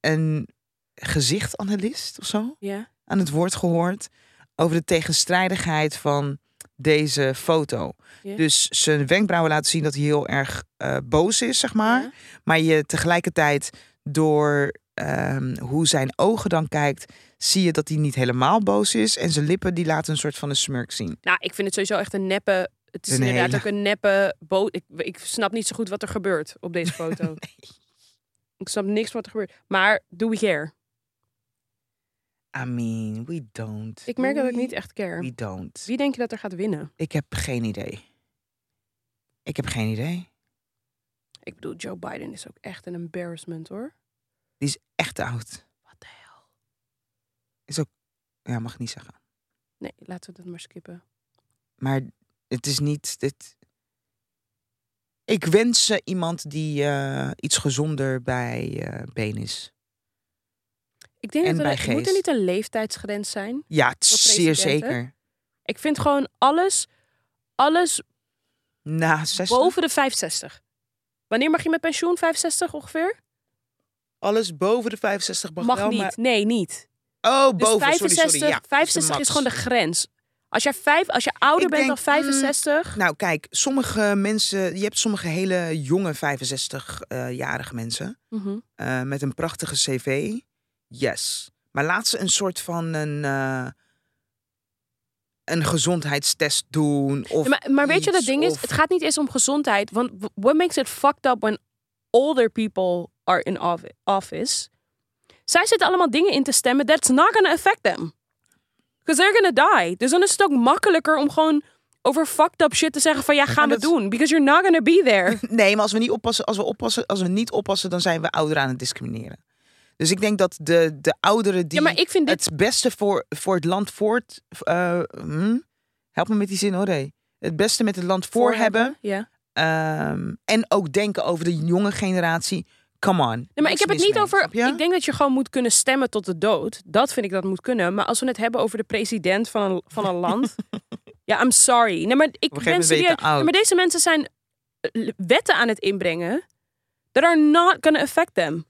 S1: een gezichtanalist of zo
S2: Ja.
S1: aan het woord gehoord over de tegenstrijdigheid van deze foto.
S2: Ja.
S1: Dus zijn wenkbrauwen laten zien dat hij heel erg eh, boos is, zeg maar.
S2: Ja.
S1: Maar je tegelijkertijd door ehm, hoe zijn ogen dan kijkt, zie je dat hij niet helemaal boos is. En zijn lippen die laten een soort van een smurk zien.
S2: Nou, ik vind het sowieso echt een neppe. Het is
S1: Een
S2: inderdaad
S1: hele-
S2: ook een neppe boot. Ik, ik snap niet zo goed wat er gebeurt op deze foto. Ik snap niks wat er gebeurt. Maar do we care?
S1: I mean, we don't.
S2: Ik merk dat ik
S1: We-
S2: niet echt care.
S1: We don't.
S2: Wie denk je dat er gaat winnen?
S1: Ik heb geen idee. Ik heb geen idee.
S2: Ik bedoel, Joe Biden is ook echt een embarrassment hoor.
S1: Die is echt oud.
S2: Wat de hel?
S1: Ja, mag ik niet zeggen.
S2: Nee, laten we dat maar skippen.
S1: Maar het is niet. Dit... Ik wens ze iemand die eh, iets gezonder bij eh, been is.
S2: Ik denk
S1: En
S2: dat
S1: bij
S2: er, moet er
S1: geest.
S2: niet een leeftijdsgrens zijn.
S1: Ja, het is
S2: Voor
S1: zeer
S2: presidenten?
S1: zeker.
S2: Ik vind gewoon alles, alles
S1: Na 60.
S2: boven de 65. Wanneer mag je met pensioen? 65 ongeveer?
S1: Alles boven de 65 mag,
S2: Mag
S1: wel,
S2: niet.
S1: maar-
S2: Nee, niet.
S1: Oh,
S2: Dus
S1: boven.
S2: 65,
S1: sorry, sorry. Ja,
S2: 65 is, gewoon de grens. Als je, vijf, als je ouder
S1: Ik
S2: bent
S1: denk,
S2: dan 65,
S1: Nou, kijk, sommige mensen. Je hebt sommige hele jonge 65-jarige mensen.
S2: Mhm.
S1: eh, met een prachtige cv. Yes. Maar laat ze een soort van een, eh, een gezondheidstest doen. Of
S2: Ja, maar, maar weet je, dat
S1: iets,
S2: ding is,
S1: of-
S2: het gaat niet eens om gezondheid. Want w- what makes it fucked up when older people are in of- office? Zij zitten allemaal dingen in te stemmen. That's not gonna affect them. Because they're gonna die. Dus dan is het ook makkelijker om gewoon over fucked up shit te zeggen van ja, gaan we
S1: dat-
S2: doen. Because you're not gonna be there.
S1: Nee, maar als we niet oppassen, als we oppassen, als we niet oppassen, dan zijn we ouderen aan het discrimineren. Dus ik denk dat de, de ouderen die
S2: Ja, maar ik vind dit...
S1: het beste voor, voor het land voort. eh, hm? help me met die zin hoor. hé. Het beste met het land voor, hebben.
S2: Ja.
S1: ehm, en ook denken over de jonge generatie. Come on.
S2: Nee, maar ik heb het niet over. Ik
S1: Ja?
S2: denk nou, dat je gewoon moet kunnen stemmen tot de dood. Dat vind ik dat moet kunnen. Maar als we het hebben over de president van een, van een land. ja, I'm sorry. Nee, maar ik
S1: Op een gegeven moment
S2: ben
S1: ben je te
S2: serieus.
S1: oud.
S2: Nee, maar deze mensen zijn eh, wetten aan het inbrengen. That are not gonna affect them.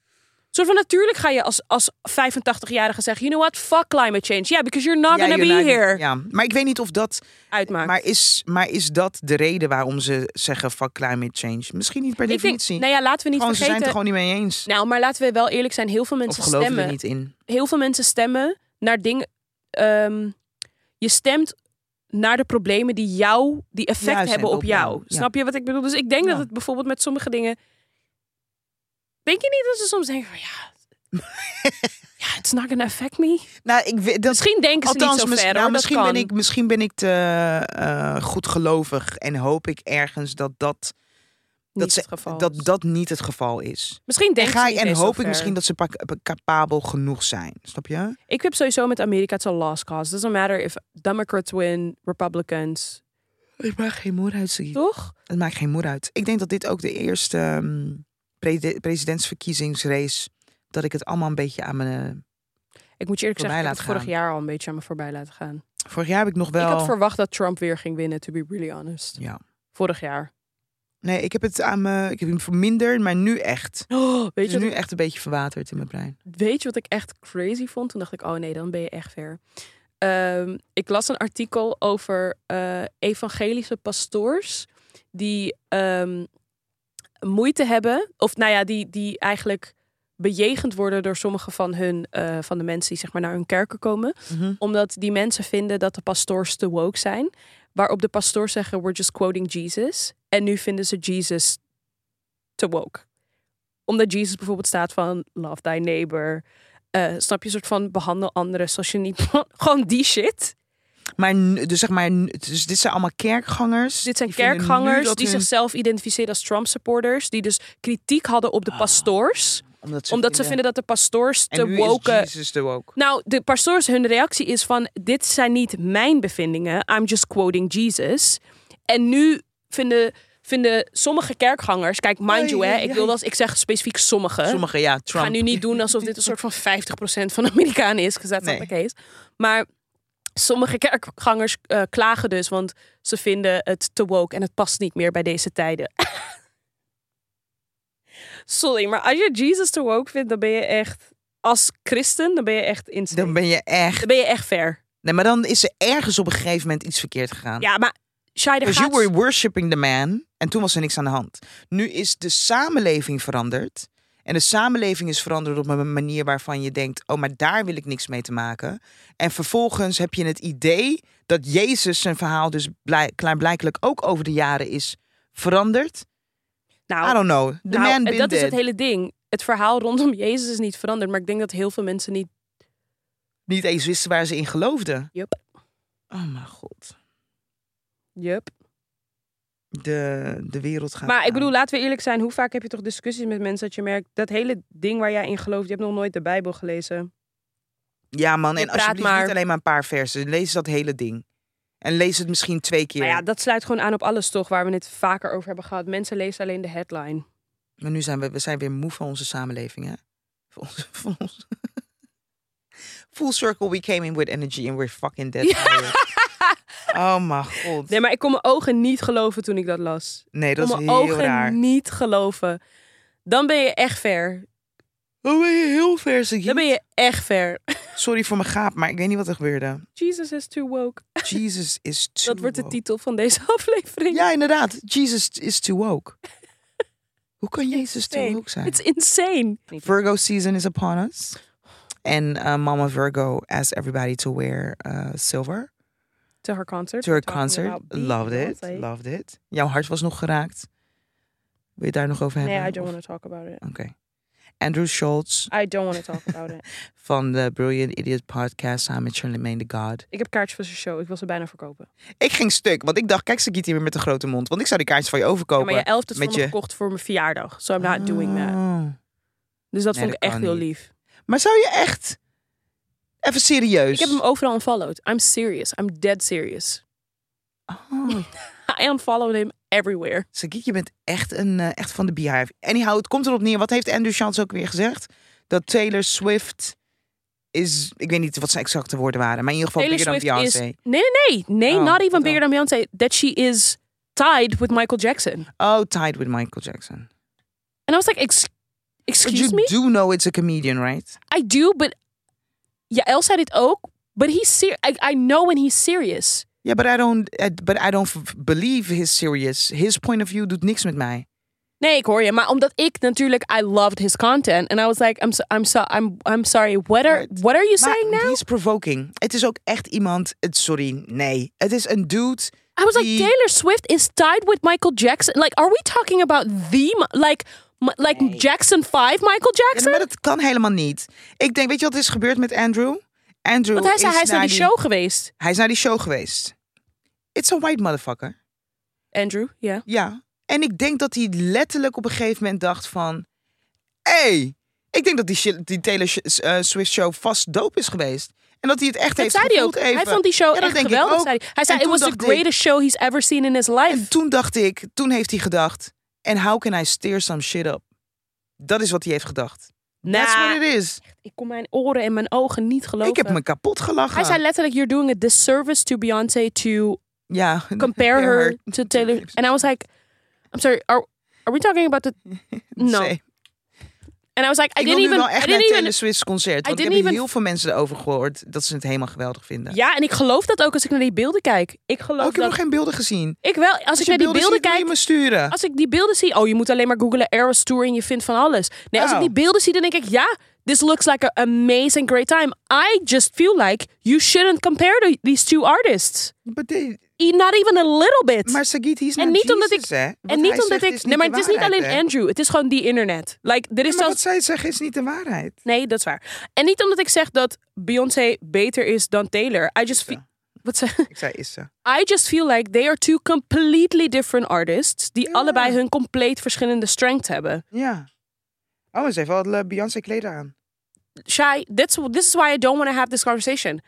S2: soort van natuurlijk ga je als, als 85-jarige zeggen... You know what? Fuck climate change. Yeah, because you're not
S1: Ja,
S2: gonna
S1: you're
S2: be
S1: not-
S2: here.
S1: Ja, maar ik weet niet of dat.
S2: Uitmaakt.
S1: Maar is, maar is dat de reden waarom ze zeggen fuck climate change? Misschien niet per
S2: ik denk,
S1: definitie.
S2: nou ja, laten we niet
S1: gewoon, ze zijn het er
S2: vergeten...
S1: gewoon niet mee eens.
S2: Nou, maar laten we wel eerlijk zijn. Heel veel
S1: Of
S2: mensen
S1: geloven
S2: stemmen
S1: er niet in.
S2: heel veel mensen stemmen naar dingen. ehm, je stemt naar de problemen die jou, die effect
S1: Juist,
S2: hebben
S1: en
S2: op
S1: op
S2: jou.
S1: jou, ja.
S2: Snap je wat ik bedoel? Dus ik denk dat
S1: Ja.
S2: het bijvoorbeeld met sommige dingen. Denk je niet dat ze soms denken van ja. ja, it's not gonna affect me.
S1: Nou, ik weet, dat,
S2: Misschien denken ze niet zo
S1: mis-
S2: ver. hoor,
S1: nou,
S2: dat
S1: misschien,
S2: kan.
S1: ben ik, misschien ben ik te eh, goedgelovig en hoop ik ergens dat dat,
S2: Niet
S1: dat, ze,
S2: het geval.
S1: dat, dat niet het geval is.
S2: misschien
S1: En,
S2: denken
S1: ga,
S2: ze niet
S1: en
S2: eens zo
S1: hoop ik
S2: ver.
S1: misschien dat ze pa- pa- capabel genoeg zijn. Snap je?
S2: Ik heb sowieso met Amerika it's a lost cause. Doesn't matter if Democrats win, Republicans,
S1: Het maakt geen moer uit.
S2: toch?
S1: Het maakt geen moer uit. Ik denk dat dit ook de eerste ehm, pre- presidentsverkiezingsrace... dat ik het allemaal een beetje aan mijn... eh,
S2: Ik moet je
S1: Voorbij
S2: eerlijk zeggen, ik heb
S1: laten
S2: het vorig
S1: gaan.
S2: jaar al een beetje aan me voorbij laten gaan.
S1: eh, Vorig jaar heb ik nog wel...
S2: Ik had verwacht dat Trump weer ging winnen, to be really honest.
S1: Ja.
S2: Vorig jaar.
S1: Nee, ik heb het aan mijn... Ik heb hem verminderd, maar nu echt.
S2: Oh,
S1: Het
S2: weet,
S1: is
S2: je wat,
S1: dus nu echt een beetje verwaterd in mijn brein.
S2: ik- weet je wat ik echt crazy vond? Toen dacht ik, oh nee, dan ben je echt ver. Ehm, ik las een artikel over eh, evangelische pastoors die ehm, moeite hebben, of nou ja, die, die eigenlijk bejegend worden door sommige van hun, eh, van de mensen die zeg maar naar hun kerken komen.
S1: Mhm.
S2: Omdat die mensen vinden dat de pastoors te woke zijn. Waarop de pastoors zeggen, we're just quoting Jesus. En nu vinden ze Jesus te woke. Omdat Jesus bijvoorbeeld staat van, love thy neighbor. Eh, snap je, soort van behandel anderen zoals je niet... Gewoon die shit.
S1: Maar nu- dus zeg maar, nu- dus dit zijn allemaal kerkgangers.
S2: Dus Dit zijn
S1: Die vinden nu
S2: kerkgangers
S1: dat
S2: die
S1: hun-
S2: zichzelf identificeren als Trump supporters. Die dus kritiek hadden op de pastoors.
S1: omdat ze
S2: Omdat ze vinden dat de pastoors te
S1: Ah, en nu
S2: woke...
S1: Is Jesus de woke.
S2: Nou, de pastoors, hun reactie is van... dit zijn niet mijn bevindingen. I'm just quoting Jesus. En nu vinden, vinden sommige kerkgangers... Kijk, mind you, hè,
S1: Ai, ai,
S2: ik, wil
S1: ai.
S2: dat, ik zeg specifiek sommige.
S1: Sommige ja,
S2: Ik ga
S1: Trump.
S2: nu niet doen alsof dit een soort van 50% van de Amerikanen is. Gezet
S1: Nee.
S2: dat de case. Maar sommige kerkgangers eh, klagen dus... want ze vinden het te woke en het past niet meer bij deze tijden. Sorry, maar als je Jesus te woke vindt, dan ben je echt... Als christen, dan ben je echt in
S1: Dan ben je echt.
S2: dan ben je echt ver.
S1: Nee, maar dan is er ergens op een gegeven moment iets verkeerd gegaan.
S2: Ja, maar Shai, er
S1: Because
S2: gaat...
S1: you were worshipping the man. En toen was er niks aan de hand. Nu is de samenleving veranderd. En de samenleving is veranderd op een manier waarvan je denkt: oh, maar daar wil ik niks mee te maken. En vervolgens heb je het idee dat Jezus zijn verhaal dus blij, klaarblijkelijk ook over de jaren is veranderd. I
S2: Nou,
S1: don't know. The
S2: nou,
S1: man
S2: en
S1: been
S2: dat is
S1: dead.
S2: het hele ding. Het verhaal rondom Jezus is niet veranderd. Maar ik denk dat heel veel mensen niet...
S1: Niet eens wisten waar ze in geloofden.
S2: Yup.
S1: Oh mijn god.
S2: Yup.
S1: De, de wereld gaat
S2: Maar ik
S1: aan.
S2: bedoel, laten we eerlijk zijn. Hoe vaak heb je toch discussies met mensen dat je merkt... dat hele ding waar jij in gelooft, je hebt nog nooit de Bijbel gelezen.
S1: Ja man,
S2: je
S1: en
S2: praat
S1: alsjeblieft
S2: maar.
S1: niet alleen maar een paar versen. Lees dat hele ding. En lees het misschien twee keer.
S2: Maar ja, dat sluit gewoon aan op alles toch... waar we het vaker over hebben gehad. Mensen lezen alleen de headline.
S1: Maar nu zijn we, we zijn weer moe van onze samenleving, hè? Van onze, van ons- Full circle, we came in with energy and we're fucking dead. tired. Oh mijn god.
S2: Nee, maar ik kon mijn ogen niet geloven toen ik dat las.
S1: Nee,
S2: Ik
S1: dat is
S2: kon mijn
S1: heel
S2: ogen
S1: raar.
S2: niet geloven. Dan ben je echt ver.
S1: Oh, ben je heel ver, zeg je.
S2: Dan ben je echt ver.
S1: Sorry voor mijn gaap, maar ik weet niet wat er gebeurde.
S2: Jesus is too woke.
S1: Jesus is too
S2: Dat wordt de
S1: woke.
S2: titel van deze aflevering.
S1: Ja, inderdaad. Jesus is too woke. Hoe kan Jezus too
S2: Insane.
S1: woke zijn?
S2: It's insane.
S1: Virgo season is upon us. And uh, Mama Virgo asked everybody to wear uh, silver.
S2: To her concert.
S1: To her
S2: Talking
S1: concert.
S2: about being
S1: Loved it.
S2: Beyoncé.
S1: Loved it. Jouw hart was nog geraakt. Wil je het daar nog over hebben?
S2: Nee, I don't
S1: Of-
S2: want to talk about it.
S1: Oké. Andrew Schultz
S2: I don't want to talk about it.
S1: van de Brilliant Idiot podcast samen met Charlemagne the God.
S2: Ik heb kaartjes voor zijn show. Ik wil ze bijna verkopen.
S1: Ik ging stuk, want ik dacht, kijk, ze giet hier weer met een grote mond. Want ik zou die kaartjes van je
S2: Ja,
S1: overkopen.
S2: maar je elft het
S1: met
S2: voor me
S1: je-
S2: gekocht voor mijn verjaardag. So I'm not doing that.
S1: Oh.
S2: Dus dat
S1: Nee,
S2: vond ik
S1: dat
S2: echt
S1: kan
S2: heel
S1: niet.
S2: lief.
S1: Maar zou je echt... Even serieus.
S2: Ik heb hem overal unfollowed. I'm serious. I'm dead serious.
S1: Oh.
S2: I unfollowed him everywhere.
S1: Sagiek, je bent echt, een, eh, echt van de beehive. Anyhow, het komt erop neer. Wat heeft Andrew Schultz ook weer gezegd? Dat Taylor Swift is... Ik weet niet wat zijn exacte woorden waren. Maar in ieder geval
S2: Taylor
S1: bigger dan
S2: Swift is...
S1: Beyoncé.
S2: Nee, nee, nee. Nee,
S1: Oh,
S2: not even
S1: wat
S2: bigger than Beyoncé. That she is tied with Michael Jackson.
S1: Oh, tied with Michael Jackson.
S2: En I was like, ex- Excuse
S1: you
S2: me?
S1: do know it's a comedian, right?
S2: I do, but... Ja, El zei dit ook. But he's serious. I, I know when he's serious.
S1: Ja, but I don't, eh, but I don't f- believe his serious. His point of view doet niks met mij.
S2: Nee, ik hoor je. Maar omdat ik natuurlijk... I loved his content. And I was like, I'm, so, I'm, so, I'm, I'm sorry. What are,
S1: Right.
S2: what are you
S1: Maar
S2: saying now?
S1: die is provoking. Het is ook echt iemand. Het, sorry, nee. Het is een dude.
S2: I was like,
S1: die-
S2: Taylor Swift is tied with Michael Jackson. Like, are we talking about the mi- like mi- like Jackson Five Michael
S1: Ja,
S2: Jackson?
S1: maar dat kan helemaal niet. Ik denk, weet je wat is gebeurd met Andrew? Andrew
S2: Want hij, is,
S1: is,
S2: hij is naar die show geweest,
S1: Hij is naar die show geweest. It's a white motherfucker.
S2: Andrew. Ja.
S1: Ja. En ik denk dat hij letterlijk op een gegeven moment dacht van... hey, ik denk dat die, shit- die Taylor Sh- eh, Swift show vast dope is geweest. En dat hij het echt
S2: Dat
S1: heeft
S2: zei hij ook.
S1: gevoeld even.
S2: Hij vond die
S1: Ja,
S2: show
S1: dat
S2: echt
S1: denk ik
S2: geweldig.
S1: ook.
S2: Zei hij. hij zei,
S1: En
S2: it
S1: toen
S2: was the
S1: dacht ik-
S2: greatest show he's ever seen in his life.
S1: En toen dacht ik, toen heeft hij gedacht... And how can I steer some shit up? Dat is wat hij heeft gedacht. That's what
S2: nah,
S1: it is.
S2: ik kon mijn oren en mijn ogen niet geloven.
S1: Ik heb me kapot gelachen.
S2: hij zei letterlijk, you're doing a disservice to Beyoncé to
S1: ja,
S2: compare her to Taylor.
S1: Swift.
S2: And I was like, I'm sorry, are, are we talking about the... No.
S1: Zee.
S2: And I was like, I
S1: Ik wil
S2: didn't
S1: nu
S2: even...
S1: wel
S2: I
S1: echt naar
S2: didn't even
S1: Taylor Swift's concert. Want ik heb
S2: didn't even-
S1: heel veel mensen erover gehoord dat ze het helemaal geweldig vinden.
S2: Ja, en ik geloof dat ook als ik naar die beelden kijk. Ik geloof
S1: Oh, ik heb
S2: dat.
S1: nog geen beelden gezien.
S2: Ik wel, als, ik
S1: je
S2: naar die beelden
S1: ziet, moet
S2: kijk.
S1: je me sturen.
S2: Als ik die beelden zie. Oh, je moet alleen maar googlen Eras Tour en je vindt van alles. Nee, als ik
S1: Oh.
S2: die beelden zie, dan denk ik ja. This looks like an amazing great time. I just feel like you shouldn't compare the- these two artists.
S1: But they-
S2: E- Not even a little bit.
S1: maar Sagit, hij is
S2: en niet omdat ik. en niet omdat ik. nee, maar het is niet alleen
S1: en.
S2: Andrew. Het is gewoon die internet. Like, er is
S1: maar
S2: zelfs
S1: wat zij zeggen is niet de waarheid.
S2: Nee, dat is waar. En niet omdat ik zeg dat Beyoncé beter is dan Taylor. I just feel. Wat ze.
S1: Ik zei, is ze.
S2: I just feel like they are two completely different artists die
S1: Ja.
S2: allebei hun compleet verschillende strength hebben.
S1: Ja. Oh, ze heeft wel eh, Beyoncé kleden aan.
S2: Shai, that's this is why I don't want to have this conversation.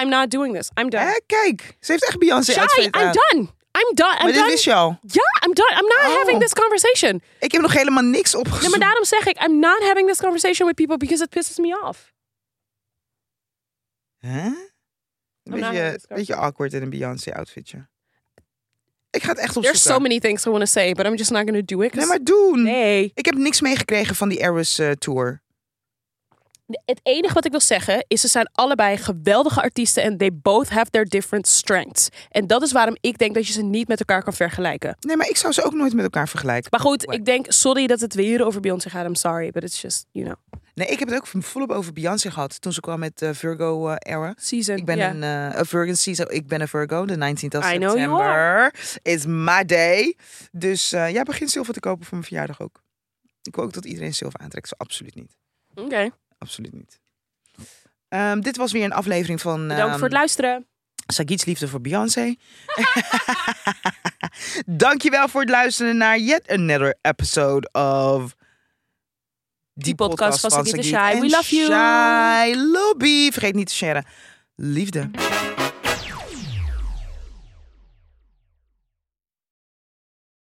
S2: I'm not doing this. I'm done.
S1: Hè, kijk, ze heeft echt Beyoncé
S2: Shai,
S1: outfit
S2: I'm
S1: aan.
S2: done. I'm done. I'm
S1: Maar dit
S2: done.
S1: wist je al.
S2: Yeah, I'm done. I'm not
S1: Oh.
S2: having this conversation.
S1: Ik heb nog helemaal niks opgezocht.
S2: Nee, maar daarom zeg ik, I'm not having this conversation with people because it pisses me off.
S1: Hè? Een
S2: I'm not having
S1: beetje,
S2: this
S1: beetje awkward in een Beyoncé outfitje. Ik ga het echt opzoeken.
S2: There's so many things I want to say, but I'm just not going to do it. 'cause-
S1: Nee, maar doen.
S2: nee.
S1: Ik heb niks meegekregen van die Eras eh, tour.
S2: Het enige wat ik wil zeggen is, ze zijn allebei geweldige artiesten en they both have their different strengths. En dat is waarom ik denk dat je ze niet met elkaar kan vergelijken.
S1: Nee, maar ik zou ze ook nooit met elkaar vergelijken.
S2: Maar goed,
S1: Whack.
S2: ik denk, sorry dat het weer over Beyoncé gaat. I'm sorry, but it's just, you know,
S1: Nee, ik heb het ook volop over Beyoncé gehad toen ze kwam met eh, Virgo eh, Era.
S2: season.
S1: Ik ben
S2: ja.
S1: een eh, a Virgo season. Ik ben een Virgo. De 19th of
S2: I know you
S1: september is my day. Dus eh, ja, begin zilver te kopen voor mijn verjaardag ook. Ik wil ook dat iedereen zilver aantrekt. Zo, absoluut niet.
S2: Oké,
S1: eh, Absoluut niet. Ehm, dit was weer een aflevering van
S2: bedankt
S1: ehm,
S2: voor het luisteren.
S1: Sagit's liefde voor Beyoncé. Dankjewel voor het luisteren naar yet another episode of...
S2: Die podcast van Sagit en
S1: Sagit
S2: Shai. We
S1: en
S2: love you.
S1: Shai Lobby. Vergeet niet te sharen. Liefde.